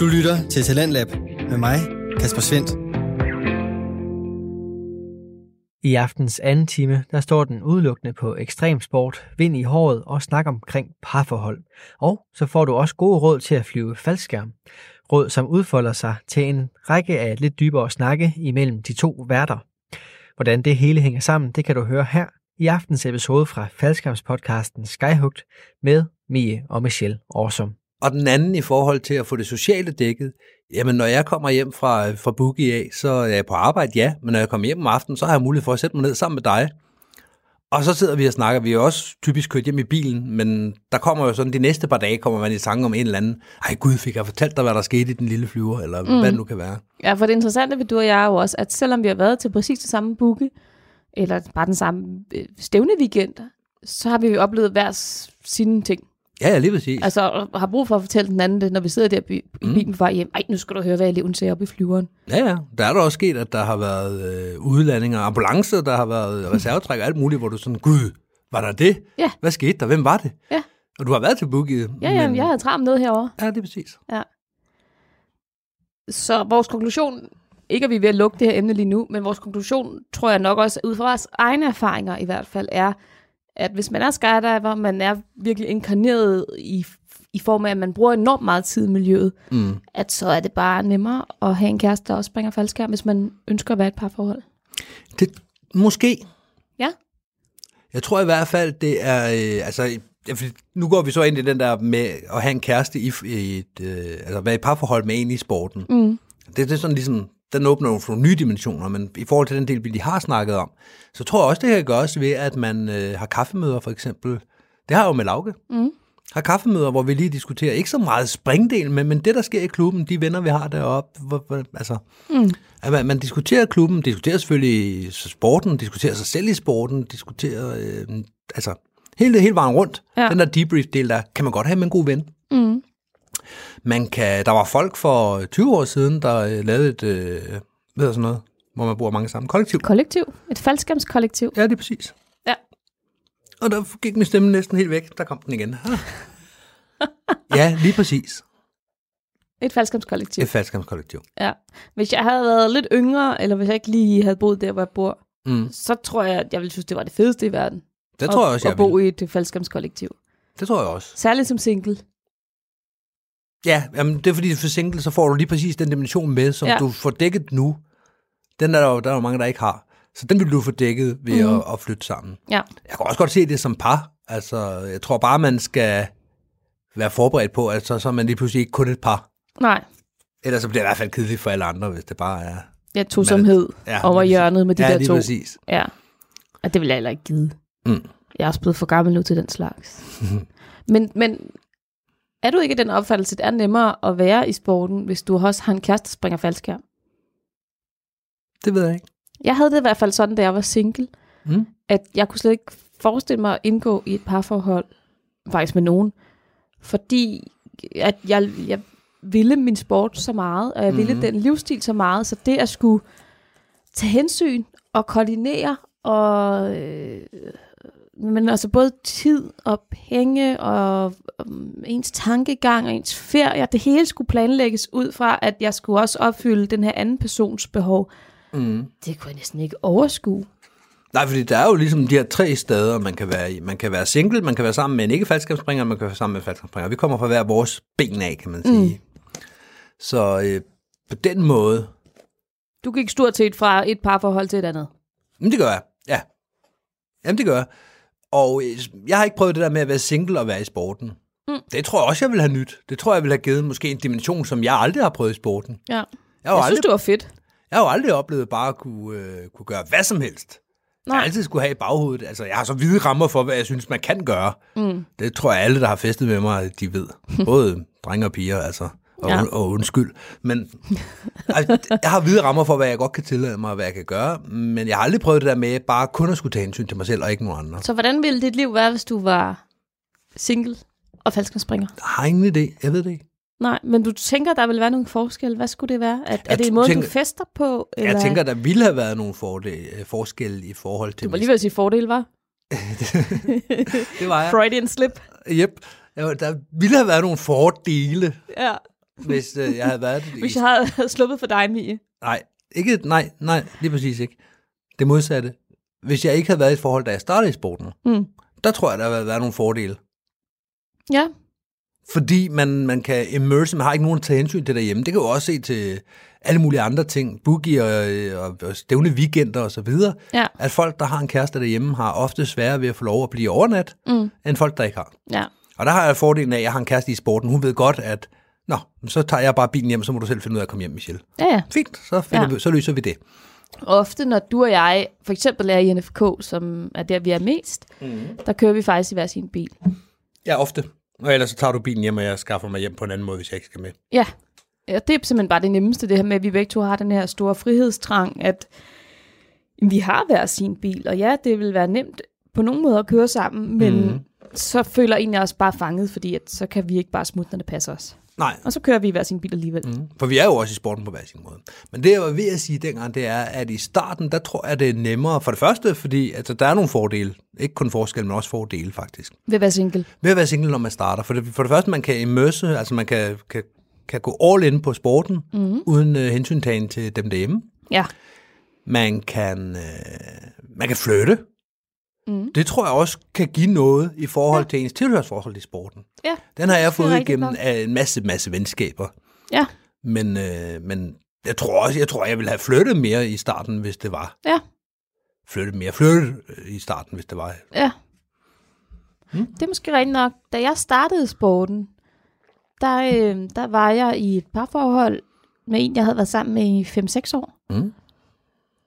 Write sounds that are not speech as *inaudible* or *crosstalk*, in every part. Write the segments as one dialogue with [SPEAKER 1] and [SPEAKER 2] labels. [SPEAKER 1] Du lytter til Talentlab med mig, Kasper Svendt.
[SPEAKER 2] I aftens anden time, der står den udelukkende på ekstremsport, vind i håret og snak omkring parforhold. Og så får du også gode råd til at flyve faldskærm. Råd, som udfolder sig til en række af lidt dybere snakke imellem de to værter. Hvordan det hele hænger sammen, det kan du høre her i aftens episode fra faldskærmspodcasten Skyhugt med Mie og Michelle Awesome.
[SPEAKER 3] Og den anden i forhold til at få det sociale dækket, jamen når jeg kommer hjem fra, øh, fra Boogie af, så er jeg på arbejde, ja, men når jeg kommer hjem om aftenen, så har jeg mulighed for at sætte mig ned sammen med dig. Og så sidder vi og snakker, vi er jo også typisk kørt hjem i bilen, men der kommer jo sådan, de næste par dage kommer man i tanke om en eller anden, ej gud, fik jeg fortalt dig, hvad der skete i den lille flyver, eller mm. hvad det nu kan være.
[SPEAKER 4] Ja, for det interessante ved du og jeg er jo også, at selvom vi har været til præcis det samme bukke, eller bare den samme øh, stævne weekend, så har vi jo oplevet hver s- sine ting.
[SPEAKER 3] Ja, ja, lige præcis. Altså,
[SPEAKER 4] Altså og har brug for at fortælle den anden det, når vi sidder der i mm. bilen på vej hjem. Ej, nu skal du høre, hvad eleven sagde oppe i flyveren.
[SPEAKER 3] ja, ja, der er der også sket, at der har været øh, udlandinger, ambulancer, der har
[SPEAKER 4] *laughs*
[SPEAKER 3] været reservetræk og alt muligt, hvor du sådan, gud, var der det?
[SPEAKER 4] Ja.
[SPEAKER 3] Hvad skete der? Hvem var det?
[SPEAKER 4] Ja.
[SPEAKER 3] Og du har været til Boogie.
[SPEAKER 4] Ja, ja, men... jeg havde travlt med herovre.
[SPEAKER 3] Ja, det er præcis.
[SPEAKER 4] Så vores konklusion, ikke at vi er ved at lukke det her emne lige nu, men vores konklusion, tror jeg nok også, ud fra vores egne erfaringer i hvert fald, er, at hvis man er skydiver, man er virkelig inkarneret i, i form af, at man bruger enormt meget tid i miljøet,
[SPEAKER 3] Mm.
[SPEAKER 4] at så er det bare nemmere at have en kæreste, der også springer faldskærm, hvis man ønsker at være i et parforhold.
[SPEAKER 3] Det, måske.
[SPEAKER 4] Ja.
[SPEAKER 3] Jeg tror i hvert fald, det er... Øh, altså, ja, fordi nu går vi så ind i den der med at have en kæreste i, f- i et, øh, altså være i parforhold med en i sporten.
[SPEAKER 4] Mm.
[SPEAKER 3] Det, det er sådan ligesom, den åbner jo for nogle nye dimensioner, men i forhold til den del, vi lige har snakket om, så tror jeg også, det kan gøres ved, at man øh, har kaffemøder for eksempel. Det har jeg jo med Lauke.
[SPEAKER 4] Mm.
[SPEAKER 3] Har kaffemøder, hvor vi lige diskuterer, ikke så meget springdelen, men, men det, der sker i klubben, de venner, vi har deroppe, hvor, hvor, altså,
[SPEAKER 4] Mm.
[SPEAKER 3] at man, man diskuterer klubben, diskuterer selvfølgelig sporten, diskuterer sig selv i sporten, diskuterer, øh, altså, hele, hele vejen rundt.
[SPEAKER 4] Ja.
[SPEAKER 3] Ja. Den der debrief-del der, kan man godt have med en god ven.
[SPEAKER 4] Mm.
[SPEAKER 3] Man kan, der var folk for 20 år siden, der øh, lavede et, øh, hvad hedder sådan noget, hvor man bor mange sammen, kollektiv.
[SPEAKER 4] Kollektiv. Et faldskærmskollektiv.
[SPEAKER 3] Ja, det er præcis.
[SPEAKER 4] Ja.
[SPEAKER 3] Og der gik min stemme næsten helt væk, der kom den igen. Ah. ja, lige præcis.
[SPEAKER 4] Et faldskærmskollektiv.
[SPEAKER 3] Et faldskabskollektiv.
[SPEAKER 4] Ja. Hvis jeg havde været lidt yngre, eller hvis jeg ikke lige havde boet der, hvor jeg bor,
[SPEAKER 3] Mm.
[SPEAKER 4] så tror jeg, at jeg ville synes, det var det fedeste i verden.
[SPEAKER 3] Det tror jeg også,
[SPEAKER 4] at,
[SPEAKER 3] jeg
[SPEAKER 4] at bo
[SPEAKER 3] vil.
[SPEAKER 4] i et øh, faldskærmskollektiv.
[SPEAKER 3] Det tror jeg også.
[SPEAKER 4] Særligt som single.
[SPEAKER 3] Ja, jamen, det er fordi, for single, så får du lige præcis den dimension med, som
[SPEAKER 4] Ja.
[SPEAKER 3] ja. du får dækket nu. Den er der, jo, der er jo mange, der ikke har. Så den vil du få dækket ved mm. at, at flytte sammen.
[SPEAKER 4] Mhm. Ja.
[SPEAKER 3] Jeg kan også godt se det som par. Altså, jeg tror bare, man skal være forberedt på, at så, så er man lige pludselig ikke kun et par.
[SPEAKER 4] Nej.
[SPEAKER 3] Ellers så bliver det i hvert fald kedeligt for alle andre, hvis det bare er...
[SPEAKER 4] Ja, tosomhed
[SPEAKER 3] Ja,
[SPEAKER 4] over
[SPEAKER 3] lige
[SPEAKER 4] hjørnet med de
[SPEAKER 3] ja,
[SPEAKER 4] der
[SPEAKER 3] lige
[SPEAKER 4] to.
[SPEAKER 3] præcis.
[SPEAKER 4] Ja, og det vil jeg heller ikke give.
[SPEAKER 3] Mm. Mm-hmm.
[SPEAKER 4] Jeg er også blevet for gammel nu til den slags. men, men er du ikke af den opfattelse, at det er nemmere at være i sporten, hvis du også har en kæreste, der springer faldskærm?
[SPEAKER 3] Det ved jeg ikke.
[SPEAKER 4] Jeg havde det i hvert fald sådan, da jeg var single,
[SPEAKER 3] Mm.
[SPEAKER 4] at jeg kunne slet ikke forestille mig at indgå i et parforhold, faktisk med nogen, fordi at jeg, jeg ville min sport så meget, og jeg ville
[SPEAKER 3] Mhm.
[SPEAKER 4] mm-hmm. den livsstil så meget, så det at skulle tage hensyn og koordinere, og, øh, men altså både tid og penge og um, ens tankegang og ens ferie, det hele skulle planlægges ud fra, at jeg skulle også opfylde den her anden persons behov.
[SPEAKER 3] Mm.
[SPEAKER 4] Det kunne jeg næsten ikke overskue.
[SPEAKER 3] Nej, fordi der er jo ligesom de her tre steder, man kan være i. Man kan være single, man kan være sammen med en ikke-faldskabsspringer, man kan være sammen med en faldskabsspringer. Vi kommer fra hver vores ben af, kan man sige. Mm. Så øh, på den måde,
[SPEAKER 4] Du gik stort set fra et parforhold til et andet.
[SPEAKER 3] jamen det gør jeg, ja. Jamen det gør jeg. Og øh, jeg har ikke prøvet det der med at være single og være i sporten.
[SPEAKER 4] Mm.
[SPEAKER 3] Mm. Det tror jeg også, jeg vil have nyt. Det tror jeg, vil have givet måske en dimension, som jeg aldrig har prøvet i sporten.
[SPEAKER 4] Ja.
[SPEAKER 3] Jeg har, jo
[SPEAKER 4] jeg synes,
[SPEAKER 3] aldrig,
[SPEAKER 4] det var fedt.
[SPEAKER 3] jeg har jo aldrig oplevet bare at kunne, øh, kunne gøre hvad som helst. Nej. Jeg
[SPEAKER 4] Nej.
[SPEAKER 3] altid skulle have i baghovedet. Altså, jeg har så hvide rammer for, hvad jeg synes, man kan gøre.
[SPEAKER 4] Mm.
[SPEAKER 3] Det tror jeg, alle, der har festet med mig, de ved. Både *laughs* drenge og piger, altså. Og,
[SPEAKER 4] Ja.
[SPEAKER 3] ja. og undskyld. Men altså, jeg har hvide rammer for, hvad jeg godt kan tillade mig, og hvad jeg kan gøre. Men jeg har aldrig prøvet det der med bare kun at skulle tage hensyn til mig selv, og ikke nogen andre.
[SPEAKER 4] Så hvordan ville dit liv være, hvis du var single og falskenspringer?
[SPEAKER 3] Jeg har ingen idé. Jeg ved det ikke.
[SPEAKER 4] Nej, men du tænker, der vil være nogle forskel. Hvad skulle det være? At, er
[SPEAKER 3] Jeg
[SPEAKER 4] det en måde,
[SPEAKER 3] tænker-
[SPEAKER 4] du fester på? Eller?
[SPEAKER 3] Eller... Jeg tænker, der ville have været nogle fordele, forskelle i forhold til...
[SPEAKER 4] du var
[SPEAKER 3] mig
[SPEAKER 4] lige ved at sige fordel, var?
[SPEAKER 3] selv. Det var jeg.
[SPEAKER 4] Freudian slip.
[SPEAKER 3] Yep. Jeg var- Der ville have været nogle fordele
[SPEAKER 4] Ja.
[SPEAKER 3] hvis øh, jeg havde været det.
[SPEAKER 4] *laughs* Hvis jeg havde sluppet for dig, Mie.
[SPEAKER 3] Nej, ikke, nej, nej, lige præcis ikke. Det modsatte. Hvis jeg ikke havde været i et forhold, da jeg startede i sporten,
[SPEAKER 4] Mm.
[SPEAKER 3] der tror jeg, der havde været nogle fordele.
[SPEAKER 4] Ja,
[SPEAKER 3] Fordi man, man kan immerse, man har ikke nogen at tage hensyn til derhjemme. Det kan jo også se til alle mulige andre ting, boogie og, øh, og, og stævne weekender osv.,
[SPEAKER 4] ja,
[SPEAKER 3] at folk, der har en kæreste derhjemme, har ofte sværere ved at få lov at blive overnat,
[SPEAKER 4] Mm.
[SPEAKER 3] end folk, der ikke har.
[SPEAKER 4] ja.
[SPEAKER 3] Og der har jeg fordelen af, at jeg har en kæreste i sporten. Hun ved godt, at Nå, så tager jeg bare bilen hjem, så må du selv finde ud af at komme hjem, Michelle.
[SPEAKER 4] Ja, ja.
[SPEAKER 3] Fint, så, finder
[SPEAKER 4] Ja.
[SPEAKER 3] ja. vi, så løser vi det.
[SPEAKER 4] Ofte, når du og jeg for eksempel er i NFK, som er der, vi er mest,
[SPEAKER 3] Mhm.
[SPEAKER 4] mm. der kører vi faktisk i hver sin bil.
[SPEAKER 3] Ja, ofte. Og ellers så tager du bilen hjem, og jeg skaffer mig hjem på en anden måde, hvis jeg ikke skal med.
[SPEAKER 4] Ja. ja, det er simpelthen bare det nemmeste, det her med, at vi begge to har den her store frihedstrang, at vi har hver sin bil, og ja, det vil være nemt på nogen måde at køre sammen, men mm. så føler en af os bare fanget, fordi at så kan vi ikke bare smutte, når det passer os.
[SPEAKER 3] Nej,
[SPEAKER 4] Og så kører vi i hver sin bil alligevel. Mm.
[SPEAKER 3] for vi er jo også i sporten på hver sin måde. Men det, jeg var ved at sige dengang, det er, at i starten, der tror jeg, det er nemmere. For det første, fordi altså, der er nogle fordele. Ikke kun forskel, men også fordele, faktisk.
[SPEAKER 4] Ved at være single.
[SPEAKER 3] Ved at være single, når man starter. For det, for det første, man kan immerse, altså man kan, kan, kan gå all in på sporten, mm-hmm. uden øh, hensyntagen til dem derhjemme.
[SPEAKER 4] Ja,
[SPEAKER 3] Man kan, øh, man kan flytte.
[SPEAKER 4] Mhm.
[SPEAKER 3] Mm. Det tror jeg også kan give noget i forhold til ens tilhørsforhold i sporten.
[SPEAKER 4] ja,
[SPEAKER 3] Den har jeg
[SPEAKER 4] Det er
[SPEAKER 3] fået
[SPEAKER 4] rigtigt
[SPEAKER 3] igennem
[SPEAKER 4] nok.
[SPEAKER 3] af en masse, masse venskaber.
[SPEAKER 4] ja,
[SPEAKER 3] Men, øh, men jeg tror også, jeg tror, jeg ville have flyttet mere i starten, hvis det var.
[SPEAKER 4] ja,
[SPEAKER 3] Flyttet mere. Flyttet øh, i starten, hvis det var.
[SPEAKER 4] ja. Mm. Det er måske rigtigt nok. Da jeg startede sporten, der, øh, der var jeg i et parforhold med en, jeg havde været sammen med i 5-6 år.
[SPEAKER 3] Mm.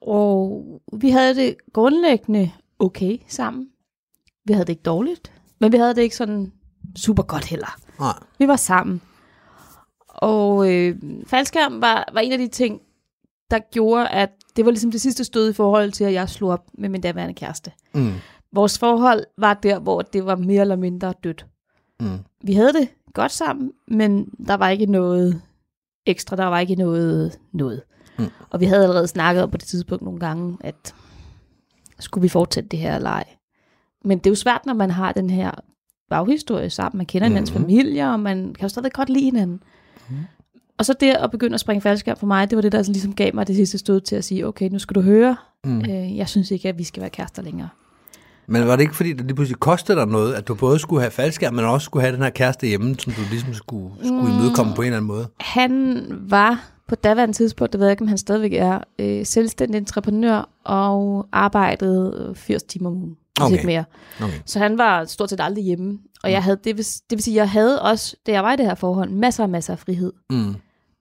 [SPEAKER 4] Og vi havde det grundlæggende okay sammen. Vi havde det ikke dårligt, men vi havde det ikke sådan super godt heller.
[SPEAKER 3] Nej.
[SPEAKER 4] Vi var sammen. Og øh, faldskærm var, var en af de ting, der gjorde, at det var ligesom det sidste stød i forhold til, at jeg slog op med min daværende kæreste.
[SPEAKER 3] Mm.
[SPEAKER 4] Vores forhold var der, hvor det var mere eller mindre dødt.
[SPEAKER 3] Mm.
[SPEAKER 4] Vi havde det godt sammen, men der var ikke noget ekstra, der var ikke noget noget.
[SPEAKER 3] Mm.
[SPEAKER 4] Og vi havde allerede snakket om på det tidspunkt nogle gange, at skulle vi fortsætte det her eller ej. Men det er jo svært, når man har den her baghistorie sammen. Man kender hinandens
[SPEAKER 3] Mhm.
[SPEAKER 4] familier, og man kan jo stadig godt lide hinanden. Og så det at begynde at springe faldskærm for mig, det var det, der sådan ligesom gav mig det sidste stød til at sige, okay, nu skal du høre,
[SPEAKER 3] Mm.
[SPEAKER 4] øh, jeg synes ikke, at vi skal være kærester længere.
[SPEAKER 3] Men var det ikke, fordi det lige pludselig kostede dig noget, at du både skulle have faldskærm, men også skulle have den her kæreste hjemme, som du ligesom skulle,
[SPEAKER 4] Mm.
[SPEAKER 3] skulle imødekomme på en eller anden måde?
[SPEAKER 4] Han var på daværende tidspunkt, det ved jeg ikke, om han stadigvæk er, øh, selvstændig entreprenør og arbejdede øh, 80 timer om ugen, hvis
[SPEAKER 3] Okay.
[SPEAKER 4] ikke mere.
[SPEAKER 3] Okay.
[SPEAKER 4] Så han var stort set aldrig hjemme. Og jeg havde, det, vil, det vil sige, jeg havde også, da jeg var i det her forhold, masser og masser af frihed
[SPEAKER 3] Mm.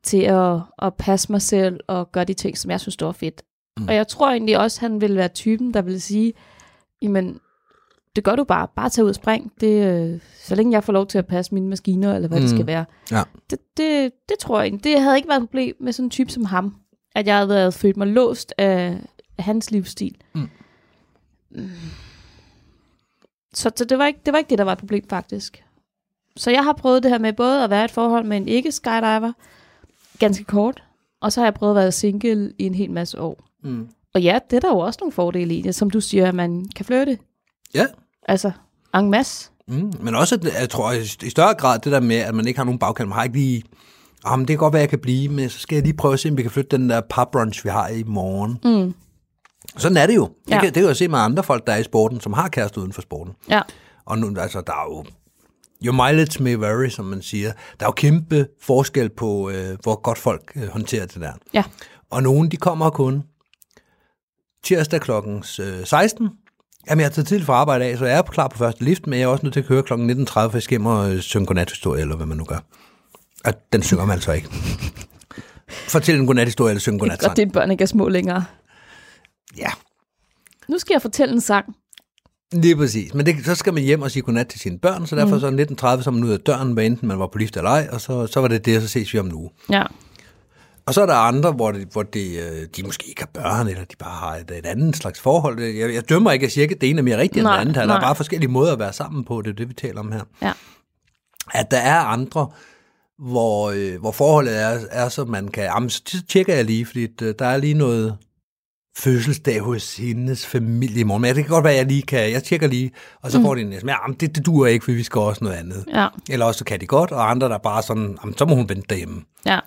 [SPEAKER 4] til at, at passe mig selv og gøre de ting, som jeg synes, det var fedt. Mm. Og jeg tror egentlig også, han ville være typen, der ville sige, jamen, det gør du bare. Bare tag ud og spring. Det, øh, så længe jeg får lov til at passe mine maskiner, eller hvad mm. det
[SPEAKER 3] Mm.
[SPEAKER 4] skal være.
[SPEAKER 3] Ja.
[SPEAKER 4] Det, det, det tror jeg egentlig. Det havde ikke været et problem med sådan en type som ham. At jeg havde været- følt mig låst af, af hans livsstil. Mm. Så, så det, var ikke, det var ikke det, der var et problem faktisk. Så jeg har prøvet det her med både at være i et forhold med en ikke-skydiver, ganske kort, og så har jeg prøvet at være single i en hel masse år.
[SPEAKER 3] Mm.
[SPEAKER 4] Og ja, det er der jo også nogle fordele i det, som du siger, at man kan flytte.
[SPEAKER 3] Ja.
[SPEAKER 4] Altså, en masse.
[SPEAKER 3] Mm. Men også, at jeg tror i større grad, det der med, at man ikke har nogen bagkant. Man har ikke lige, ah, men det kan godt være, jeg kan blive, men så skal jeg lige prøve at se, om vi kan flytte den der pabrunch, vi har i morgen.
[SPEAKER 4] Mm.
[SPEAKER 3] Sådan er det jo. Det,
[SPEAKER 4] Ja.
[SPEAKER 3] ja. kan, det kan jeg jo se med andre folk, der er i sporten, som har kæreste uden for sporten.
[SPEAKER 4] Ja,
[SPEAKER 3] Og nu, altså, der er jo... Your mileage may vary, som man siger. Der er jo kæmpe forskel på, øh, hvor godt folk øh, håndterer det der.
[SPEAKER 4] ja,
[SPEAKER 3] Og nogen, de kommer kun tirsdag kl. øh, 16. Jamen, jeg har taget tidligt fra arbejde af, så jeg er klar på første lift, men jeg er også nødt til at køre kl. 19.30, for jeg skal hjem og øh, synge godnathistorie, eller hvad man nu gør. Og den synger man altså ikke. Fortæl en godnathistorie, eller synge
[SPEAKER 4] det er godt,
[SPEAKER 3] godnatsang.
[SPEAKER 4] dine børn ikke er små længere.
[SPEAKER 3] Ja,
[SPEAKER 4] Nu skal jeg fortælle en sang.
[SPEAKER 3] Lige præcis. Men det, så skal man hjem og sige godnat til sine børn, så derfor mm. så 1930, så er man ud af døren, hvad enten man var på lift eller ej, og så, så var det det, og så ses vi om en uge.
[SPEAKER 4] Ja,
[SPEAKER 3] Og så er der andre, hvor, det, hvor det, øh, de måske ikke har børn, eller de bare har et, et andet slags forhold. Jeg, jeg dømmer ikke, jeg siger ikke, at det ene er mere rigtigt end
[SPEAKER 4] Nej,
[SPEAKER 3] det andet her. Der er
[SPEAKER 4] nej.
[SPEAKER 3] bare forskellige måder at være sammen på, det er det, vi taler om her.
[SPEAKER 4] ja,
[SPEAKER 3] At der er andre, hvor, øh, hvor forholdet er, er, så man kan, jamen, så tjekker jeg lige, fordi øh, der er lige noget, fødselsdag hos hendes familie i morgen. Men ja, det kan godt være, at jeg lige kan, jeg tjekker lige, og så mm. får de en næste. Men jamen, det, det duer ikke, for vi skal også noget andet.
[SPEAKER 4] Ja,
[SPEAKER 3] Eller også så kan de godt, og andre der er bare sådan, jamen, så må hun vente derhjemme.
[SPEAKER 4] ja.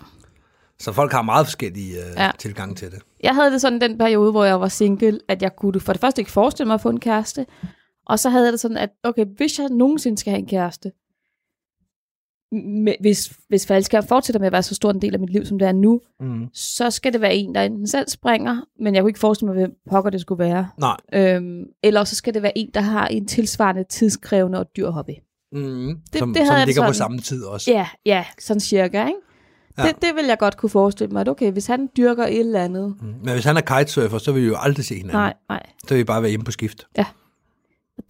[SPEAKER 3] Så folk har meget forskellige øh,
[SPEAKER 4] Ja.
[SPEAKER 3] ja. tilgange til det.
[SPEAKER 4] Jeg havde det sådan den periode, hvor jeg var single, at jeg kunne for det første ikke forestille mig at få en kæreste, og så havde jeg det sådan, at okay, hvis jeg nogensinde skal have en kæreste, med, hvis, hvis falsker fortsætter med at være så stor en del af mit liv, som det er nu,
[SPEAKER 3] Mm.
[SPEAKER 4] så skal det være en, der enten selv springer, men jeg kunne ikke forestille mig, hvem pokker det skulle være.
[SPEAKER 3] Nej.
[SPEAKER 4] Øhm, eller også så skal det være en, der har en tilsvarende tidskrævende og dyr hobby.
[SPEAKER 3] Mm.
[SPEAKER 4] det
[SPEAKER 3] som,
[SPEAKER 4] havde jeg
[SPEAKER 3] som
[SPEAKER 4] det
[SPEAKER 3] ligger på
[SPEAKER 4] sådan.
[SPEAKER 3] samme tid også.
[SPEAKER 4] Ja, ja, sådan cirka, ikke? Ja.
[SPEAKER 3] Ja.
[SPEAKER 4] Det, det vil jeg godt kunne forestille mig, at okay, hvis han dyrker et eller andet.
[SPEAKER 3] Mm. Men hvis han er kitesurfer, så vil vi jo aldrig se hinanden.
[SPEAKER 4] Nej, nej,
[SPEAKER 3] Så vil vi bare være hjemme på skift.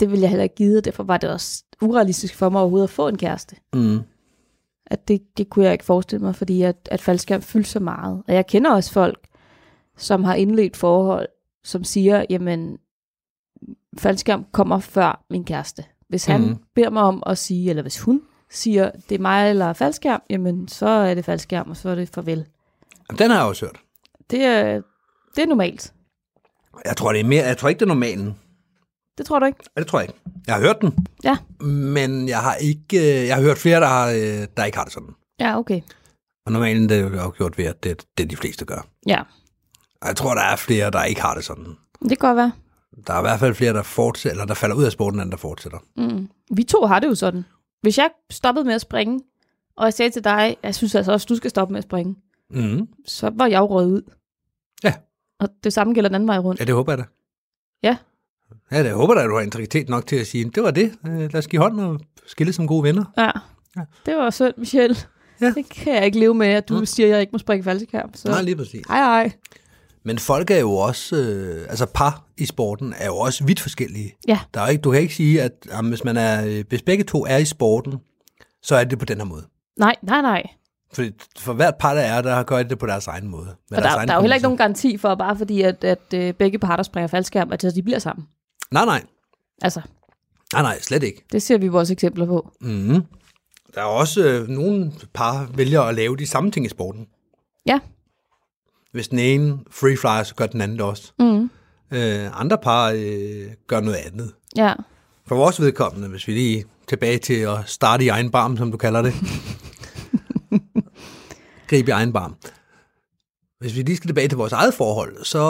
[SPEAKER 4] det ville jeg heller ikke give, og derfor var det også urealistisk for mig overhovedet at få en kæreste.
[SPEAKER 3] Mm.
[SPEAKER 4] At det, det kunne jeg ikke forestille mig, fordi at, at faldskærm fyldte så meget. Og jeg kender også folk, som har indledt forhold, som siger, jamen, faldskærm kommer før min kæreste. Hvis han mm.
[SPEAKER 3] Mhm.
[SPEAKER 4] beder mig om at sige, eller hvis hun siger, det er mig eller faldskærm, jamen, så er det faldskærm, og så er det farvel.
[SPEAKER 3] Jamen, Den har jeg også hørt.
[SPEAKER 4] Det er, det er normalt.
[SPEAKER 3] Jeg tror, det er mere, jeg tror ikke, det er normalen.
[SPEAKER 4] Det tror du ikke?
[SPEAKER 3] Ja, det tror jeg ikke. Jeg har hørt den,
[SPEAKER 4] Ja.
[SPEAKER 3] men jeg har ikke, øh, jeg har hørt flere, der, har, øh, der ikke har det sådan.
[SPEAKER 4] Ja, okay.
[SPEAKER 3] Og normalen det er jo gjort ved, at det, det er de fleste der gør.
[SPEAKER 4] Ja,
[SPEAKER 3] Og jeg tror, der er flere, der ikke har det sådan.
[SPEAKER 4] det kan godt være.
[SPEAKER 3] Der er i hvert fald flere, der, fortsætter, eller der falder ud af sporten, end der fortsætter.
[SPEAKER 4] Mm. Vi to har det jo sådan. Hvis jeg stoppede med at springe, og jeg sagde til dig, jeg synes altså også, du skal stoppe med at springe,
[SPEAKER 3] Mm.
[SPEAKER 4] så var jeg jo røget ud.
[SPEAKER 3] Ja.
[SPEAKER 4] Og det samme gælder den anden vej rundt.
[SPEAKER 3] Ja, det håber jeg da.
[SPEAKER 4] Ja.
[SPEAKER 3] Ja, det jeg håber jeg, at du har integritet nok til at sige, det var det. Øh, Lad os give hånd og skille som gode venner.
[SPEAKER 4] Ja.
[SPEAKER 3] Ja.
[SPEAKER 4] Det var synd, Michelle.
[SPEAKER 3] Ja.
[SPEAKER 4] Det kan jeg ikke leve med, at du
[SPEAKER 3] Mm.
[SPEAKER 4] siger, at jeg ikke må springe falsekamp. Så.
[SPEAKER 3] Nej, lige præcis.
[SPEAKER 4] Ej, ej.
[SPEAKER 3] Men folk er jo også, øh, altså par i sporten er jo også vidt forskellige.
[SPEAKER 4] Ja.
[SPEAKER 3] Der er jo ikke, du kan ikke sige, at jamen, hvis, man er, øh, hvis begge to er i sporten, så er det på den her måde.
[SPEAKER 4] Nej, nej, nej.
[SPEAKER 3] For, for hvert par, der er, der gør de det på deres egen måde. Med
[SPEAKER 4] Og
[SPEAKER 3] deres
[SPEAKER 4] der,
[SPEAKER 3] egen
[SPEAKER 4] der er jo heller ikke nogen
[SPEAKER 3] præmisser.
[SPEAKER 4] garanti for, bare fordi at, at øh, begge parter springer falskærm, at de bliver sammen.
[SPEAKER 3] Nej, nej.
[SPEAKER 4] Altså,
[SPEAKER 3] Nej, nej, slet ikke.
[SPEAKER 4] det ser vi vores eksempler på.
[SPEAKER 3] Mm. Der er også øh, nogle par, vælger at lave de samme ting i sporten.
[SPEAKER 4] Ja.
[SPEAKER 3] Hvis den ene free flyer, så gør den anden det også.
[SPEAKER 4] Mm.
[SPEAKER 3] Øh, andre par øh, gør noget andet.
[SPEAKER 4] Ja.
[SPEAKER 3] For vores vedkommende, hvis vi lige tilbage til at starte i egen barm, som du kalder det. Gribe i egen barm. Hvis vi lige skal tilbage til vores eget forhold, så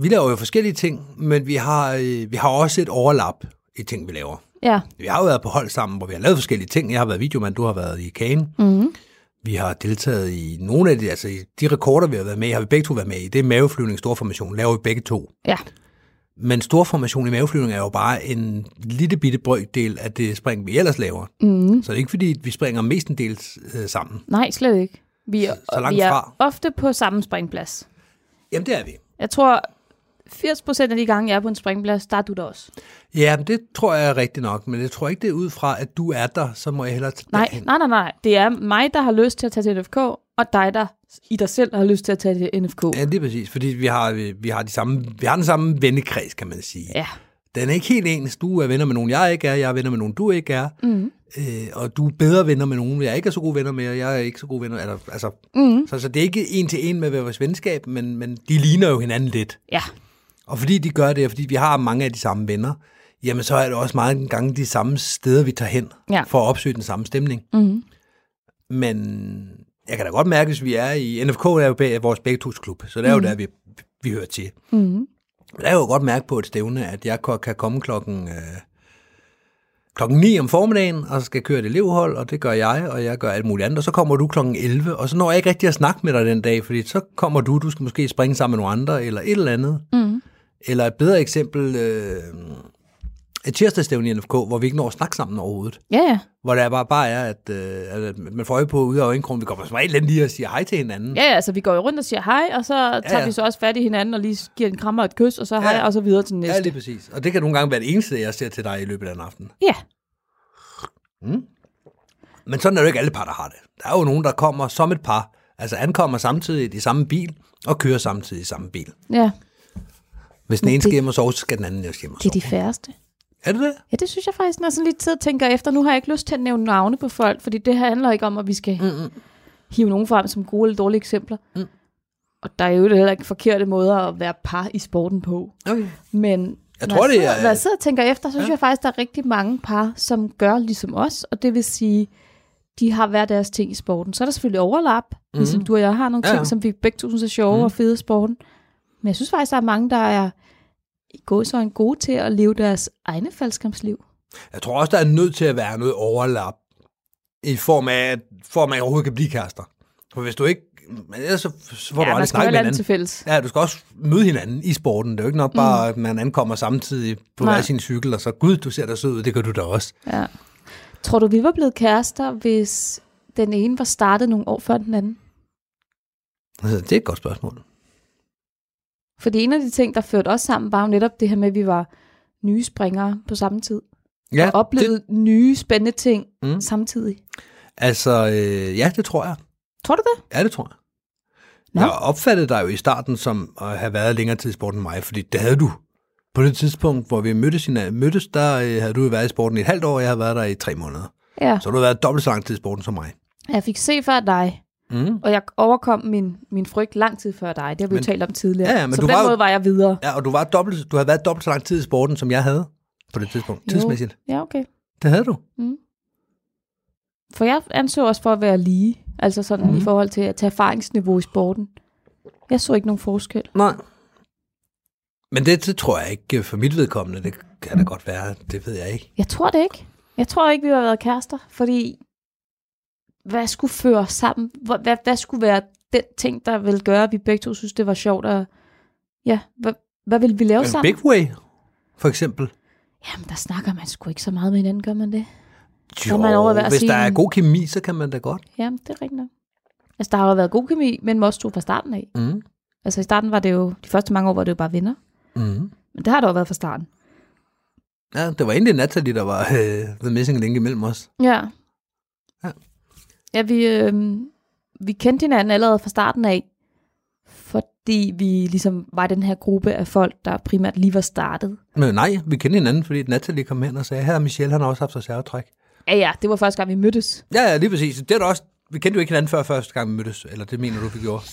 [SPEAKER 3] vi laver jo forskellige ting, men vi har, øh, vi har også et overlap i ting, vi laver.
[SPEAKER 4] Ja.
[SPEAKER 3] Vi har jo været på hold sammen, hvor vi har lavet forskellige ting. Jeg har været videomand, du har været i Kane.
[SPEAKER 4] Mm.
[SPEAKER 3] Vi har deltaget i nogle af de, altså i de rekorder, vi har været med i, har vi begge to været med i. Det er maveflyvning, storformation, laver vi begge to.
[SPEAKER 4] Ja.
[SPEAKER 3] Men storformation i maveflyvning er jo bare en lille bitte brøkdel af det spring, vi ellers laver.
[SPEAKER 4] Mm.
[SPEAKER 3] Så det er ikke fordi, vi springer mestendels øh, sammen.
[SPEAKER 4] Nej, slet ikke. Vi er,
[SPEAKER 3] Så- så langt
[SPEAKER 4] vi er
[SPEAKER 3] fra.
[SPEAKER 4] ofte på samme springplads.
[SPEAKER 3] Jamen, det er vi.
[SPEAKER 4] Jeg tror, 80% af de gange, jeg er på en springplads, der er du der også.
[SPEAKER 3] Ja, men det tror jeg er rigtigt nok, men jeg tror ikke, det er ud fra, at du er der, så må jeg hellere tage
[SPEAKER 4] Nej,
[SPEAKER 3] derhen.
[SPEAKER 4] nej, nej, nej. Det er mig, der har lyst til at tage til NFK, og dig, der i dig selv har lyst til at tage til NFK.
[SPEAKER 3] Ja, det er præcis, fordi vi har, vi, vi har, de samme, vi har den samme vennekreds, kan man sige.
[SPEAKER 4] Ja.
[SPEAKER 3] Den er ikke helt ens. Du er venner med nogen, jeg ikke er. Jeg er venner med nogen, du ikke er.
[SPEAKER 4] Mm.
[SPEAKER 3] Øh, og du er bedre venner med nogen, jeg ikke er så gode venner med, og jeg er ikke så gode venner. Eller, altså,
[SPEAKER 4] Mm.
[SPEAKER 3] så, så det er ikke en til en med vores venskab, men, men de ligner jo hinanden lidt.
[SPEAKER 4] Ja,
[SPEAKER 3] Og fordi de gør det, og fordi vi har mange af de samme venner, jamen så er det også mange gange de samme steder, vi tager hen
[SPEAKER 4] Ja.
[SPEAKER 3] for at opsøge den samme stemning.
[SPEAKER 4] Mhm.
[SPEAKER 3] Men jeg kan da godt mærke, hvis vi er i... NFK er jo bag- vores begge tos klub, så det er jo der, vi, vi hører til.
[SPEAKER 4] Mhm.
[SPEAKER 3] Men jeg kan jo godt mærke på et stævne, at jeg ko- kan komme klokken... Øh, klokken 9 om formiddagen, og så skal jeg køre et elevhold, og det gør jeg, og jeg gør alt muligt andet, og så kommer du klokken 11, og så når jeg ikke rigtig at snakke med dig den dag, fordi så kommer du, du skal måske springe sammen med nogle andre, eller et eller andet.
[SPEAKER 4] Mhm.
[SPEAKER 3] Eller et bedre eksempel, øh, et tirsdagsstævne i NFK, hvor vi ikke når at snakke sammen overhovedet.
[SPEAKER 4] ja, ja.
[SPEAKER 3] Hvor der bare, bare er, at, øh, at man får øje på ude af øjenkrogen, vi kommer som regel lige og siger hej til hinanden.
[SPEAKER 4] Ja, ja, altså vi går jo rundt og siger hej, og så tager ja, ja.
[SPEAKER 3] ja.
[SPEAKER 4] vi så også fat i hinanden og lige giver en krammer og et kys, og så hej,
[SPEAKER 3] Ja, ja.
[SPEAKER 4] og så videre til den
[SPEAKER 3] ja,
[SPEAKER 4] næste.
[SPEAKER 3] lige præcis. Og det kan nogle gange være det eneste, jeg ser til dig i løbet af den aften.
[SPEAKER 4] Ja,
[SPEAKER 3] Men sådan er det jo ikke alle par, der har det. Der er jo nogen, der kommer som et par, altså ankommer samtidig i de samme bil, og kører samtidig i samme bil.
[SPEAKER 4] ja.
[SPEAKER 3] Hvis den
[SPEAKER 4] Men
[SPEAKER 3] ene
[SPEAKER 4] det-
[SPEAKER 3] skal hjem og sove, så skal den anden også hjem og
[SPEAKER 4] Det er
[SPEAKER 3] sove.
[SPEAKER 4] de færreste.
[SPEAKER 3] Er det det?
[SPEAKER 4] Ja, det synes jeg faktisk, når jeg sådan lige tid tænker efter. Nu har jeg ikke lyst til at nævne navne på folk, fordi det her handler ikke om, at vi skal mm-hmm. hive nogen frem som gode eller dårlige eksempler. Mm. Og der er jo heller ikke forkerte måder at være par i sporten på.
[SPEAKER 3] Okay.
[SPEAKER 4] Men
[SPEAKER 3] Jeg
[SPEAKER 4] når
[SPEAKER 3] tror, det
[SPEAKER 4] sidder,
[SPEAKER 3] er-
[SPEAKER 4] Når jeg sidder og tænker efter, så synes
[SPEAKER 3] Ja.
[SPEAKER 4] ja. jeg faktisk, der er rigtig mange par, som gør ligesom os. Og det vil sige, de har hver deres ting i sporten. Så er der selvfølgelig overlap, mm. ligesom du og jeg har nogle
[SPEAKER 3] Mhm. Ja,
[SPEAKER 4] ting,
[SPEAKER 3] ja. Mhm.
[SPEAKER 4] som vi begge to synes er sjove mm. og fede i sporten. Men jeg synes faktisk, der er mange, der er i gåsøjne gode til at leve deres egne faldskampsliv.
[SPEAKER 3] Jeg tror også, der er nødt til at være noget overlap i form af, at- for at man overhovedet kan blive kærester. For hvis du ikke... Men ellers så, så får ja, du
[SPEAKER 4] man
[SPEAKER 3] aldrig
[SPEAKER 4] skal jo
[SPEAKER 3] snakket med
[SPEAKER 4] have andet
[SPEAKER 3] hinanden.
[SPEAKER 4] til fælles.
[SPEAKER 3] Ja, du skal også møde hinanden i sporten. Det er jo ikke nok bare, at man ankommer samtidig på
[SPEAKER 4] Mm. Nej.
[SPEAKER 3] hver sin cykel, og så, gud, du ser da sød ud, det gør du da også.
[SPEAKER 4] Ja. Tror du, vi var blevet kærester, hvis den ene var startet nogle år før den anden?
[SPEAKER 3] Altså, det er et godt spørgsmål.
[SPEAKER 4] Fordi en af de ting, der førte os sammen, var jo netop det her med, at vi var nye springere på samme tid.
[SPEAKER 3] Ja,
[SPEAKER 4] og oplevede det... nye spændende ting
[SPEAKER 3] Mm.
[SPEAKER 4] mm. samtidig.
[SPEAKER 3] Altså, øh, ja, det tror jeg.
[SPEAKER 4] Tror du det?
[SPEAKER 3] Ja, det tror jeg.
[SPEAKER 4] Nå.
[SPEAKER 3] Jeg opfattede dig jo i starten som at have været længere tid i sporten end mig, fordi det havde du. På det tidspunkt, hvor vi mødtes, hina- mødtes der øh, havde du jo været i sporten i et halvt år, og jeg havde været der i tre måneder.
[SPEAKER 4] Ja.
[SPEAKER 3] Så har du har været dobbelt så lang tid i sporten som mig.
[SPEAKER 4] Jeg fik se før dig,
[SPEAKER 3] Mm.
[SPEAKER 4] og jeg overkom min, min frygt lang tid før dig. Det har vi
[SPEAKER 3] Men-
[SPEAKER 4] jo talt om tidligere.
[SPEAKER 3] Ja, ja, men
[SPEAKER 4] så
[SPEAKER 3] du
[SPEAKER 4] på den
[SPEAKER 3] var jo-
[SPEAKER 4] måde var jeg videre.
[SPEAKER 3] Ja, og du, var dobbelt, du havde været dobbelt så lang tid i sporten, som jeg havde på det tidspunkt,
[SPEAKER 4] Jo.
[SPEAKER 3] tidsmæssigt.
[SPEAKER 4] Ja, okay. Mm.
[SPEAKER 3] Det havde du.
[SPEAKER 4] For jeg anså også for at være lige, altså sådan mm. i forhold til at tage erfaringsniveau i sporten. Jeg så ikke nogen forskel.
[SPEAKER 3] Nej. Men det, det tror jeg ikke øh, for mit vedkommende. Det kan da godt være, det ved jeg ikke.
[SPEAKER 4] Jeg tror det ikke. Jeg tror ikke, vi har været kærester, fordi hvad skulle føre os sammen? Hvor- Hvad, hvad skulle være den ting, der ville gøre, at vi begge to synes, det var sjovt? Og, ja, hvad, hvad ville vi lave
[SPEAKER 3] Men
[SPEAKER 4] sammen?
[SPEAKER 3] Big Way, for eksempel.
[SPEAKER 4] Jamen, der snakker man sgu ikke så meget med hinanden, gør man det?
[SPEAKER 3] Jo,
[SPEAKER 4] er man over hver
[SPEAKER 3] hvis der
[SPEAKER 4] sin-
[SPEAKER 3] er god kemi, så kan man da godt.
[SPEAKER 4] Jamen, det er rigtigt nok. Altså, der har jo været god kemi mellem os to fra starten af.
[SPEAKER 3] Mm.
[SPEAKER 4] Altså, i starten var det jo, de første mange år var det jo bare venner.
[SPEAKER 3] Mm.
[SPEAKER 4] Men det har der jo været fra starten.
[SPEAKER 3] Ja, det var egentlig Natalie, der var øh, the missing link imellem os.
[SPEAKER 4] Ja.
[SPEAKER 3] Ja.
[SPEAKER 4] Ja, vi, øh, vi kendte hinanden allerede fra starten af, fordi vi ligesom var den her gruppe af folk, der primært lige var startet.
[SPEAKER 3] Men nej, vi kendte hinanden, fordi Natalie kom hen og sagde, her er Michelle, han har også haft reservetræk.
[SPEAKER 4] Ja, ja, det var første gang, vi mødtes.
[SPEAKER 3] Ja, ja, lige præcis. Det er da også, vi kendte jo ikke hinanden før første gang, vi mødtes. Eller det mener du, vi gjorde.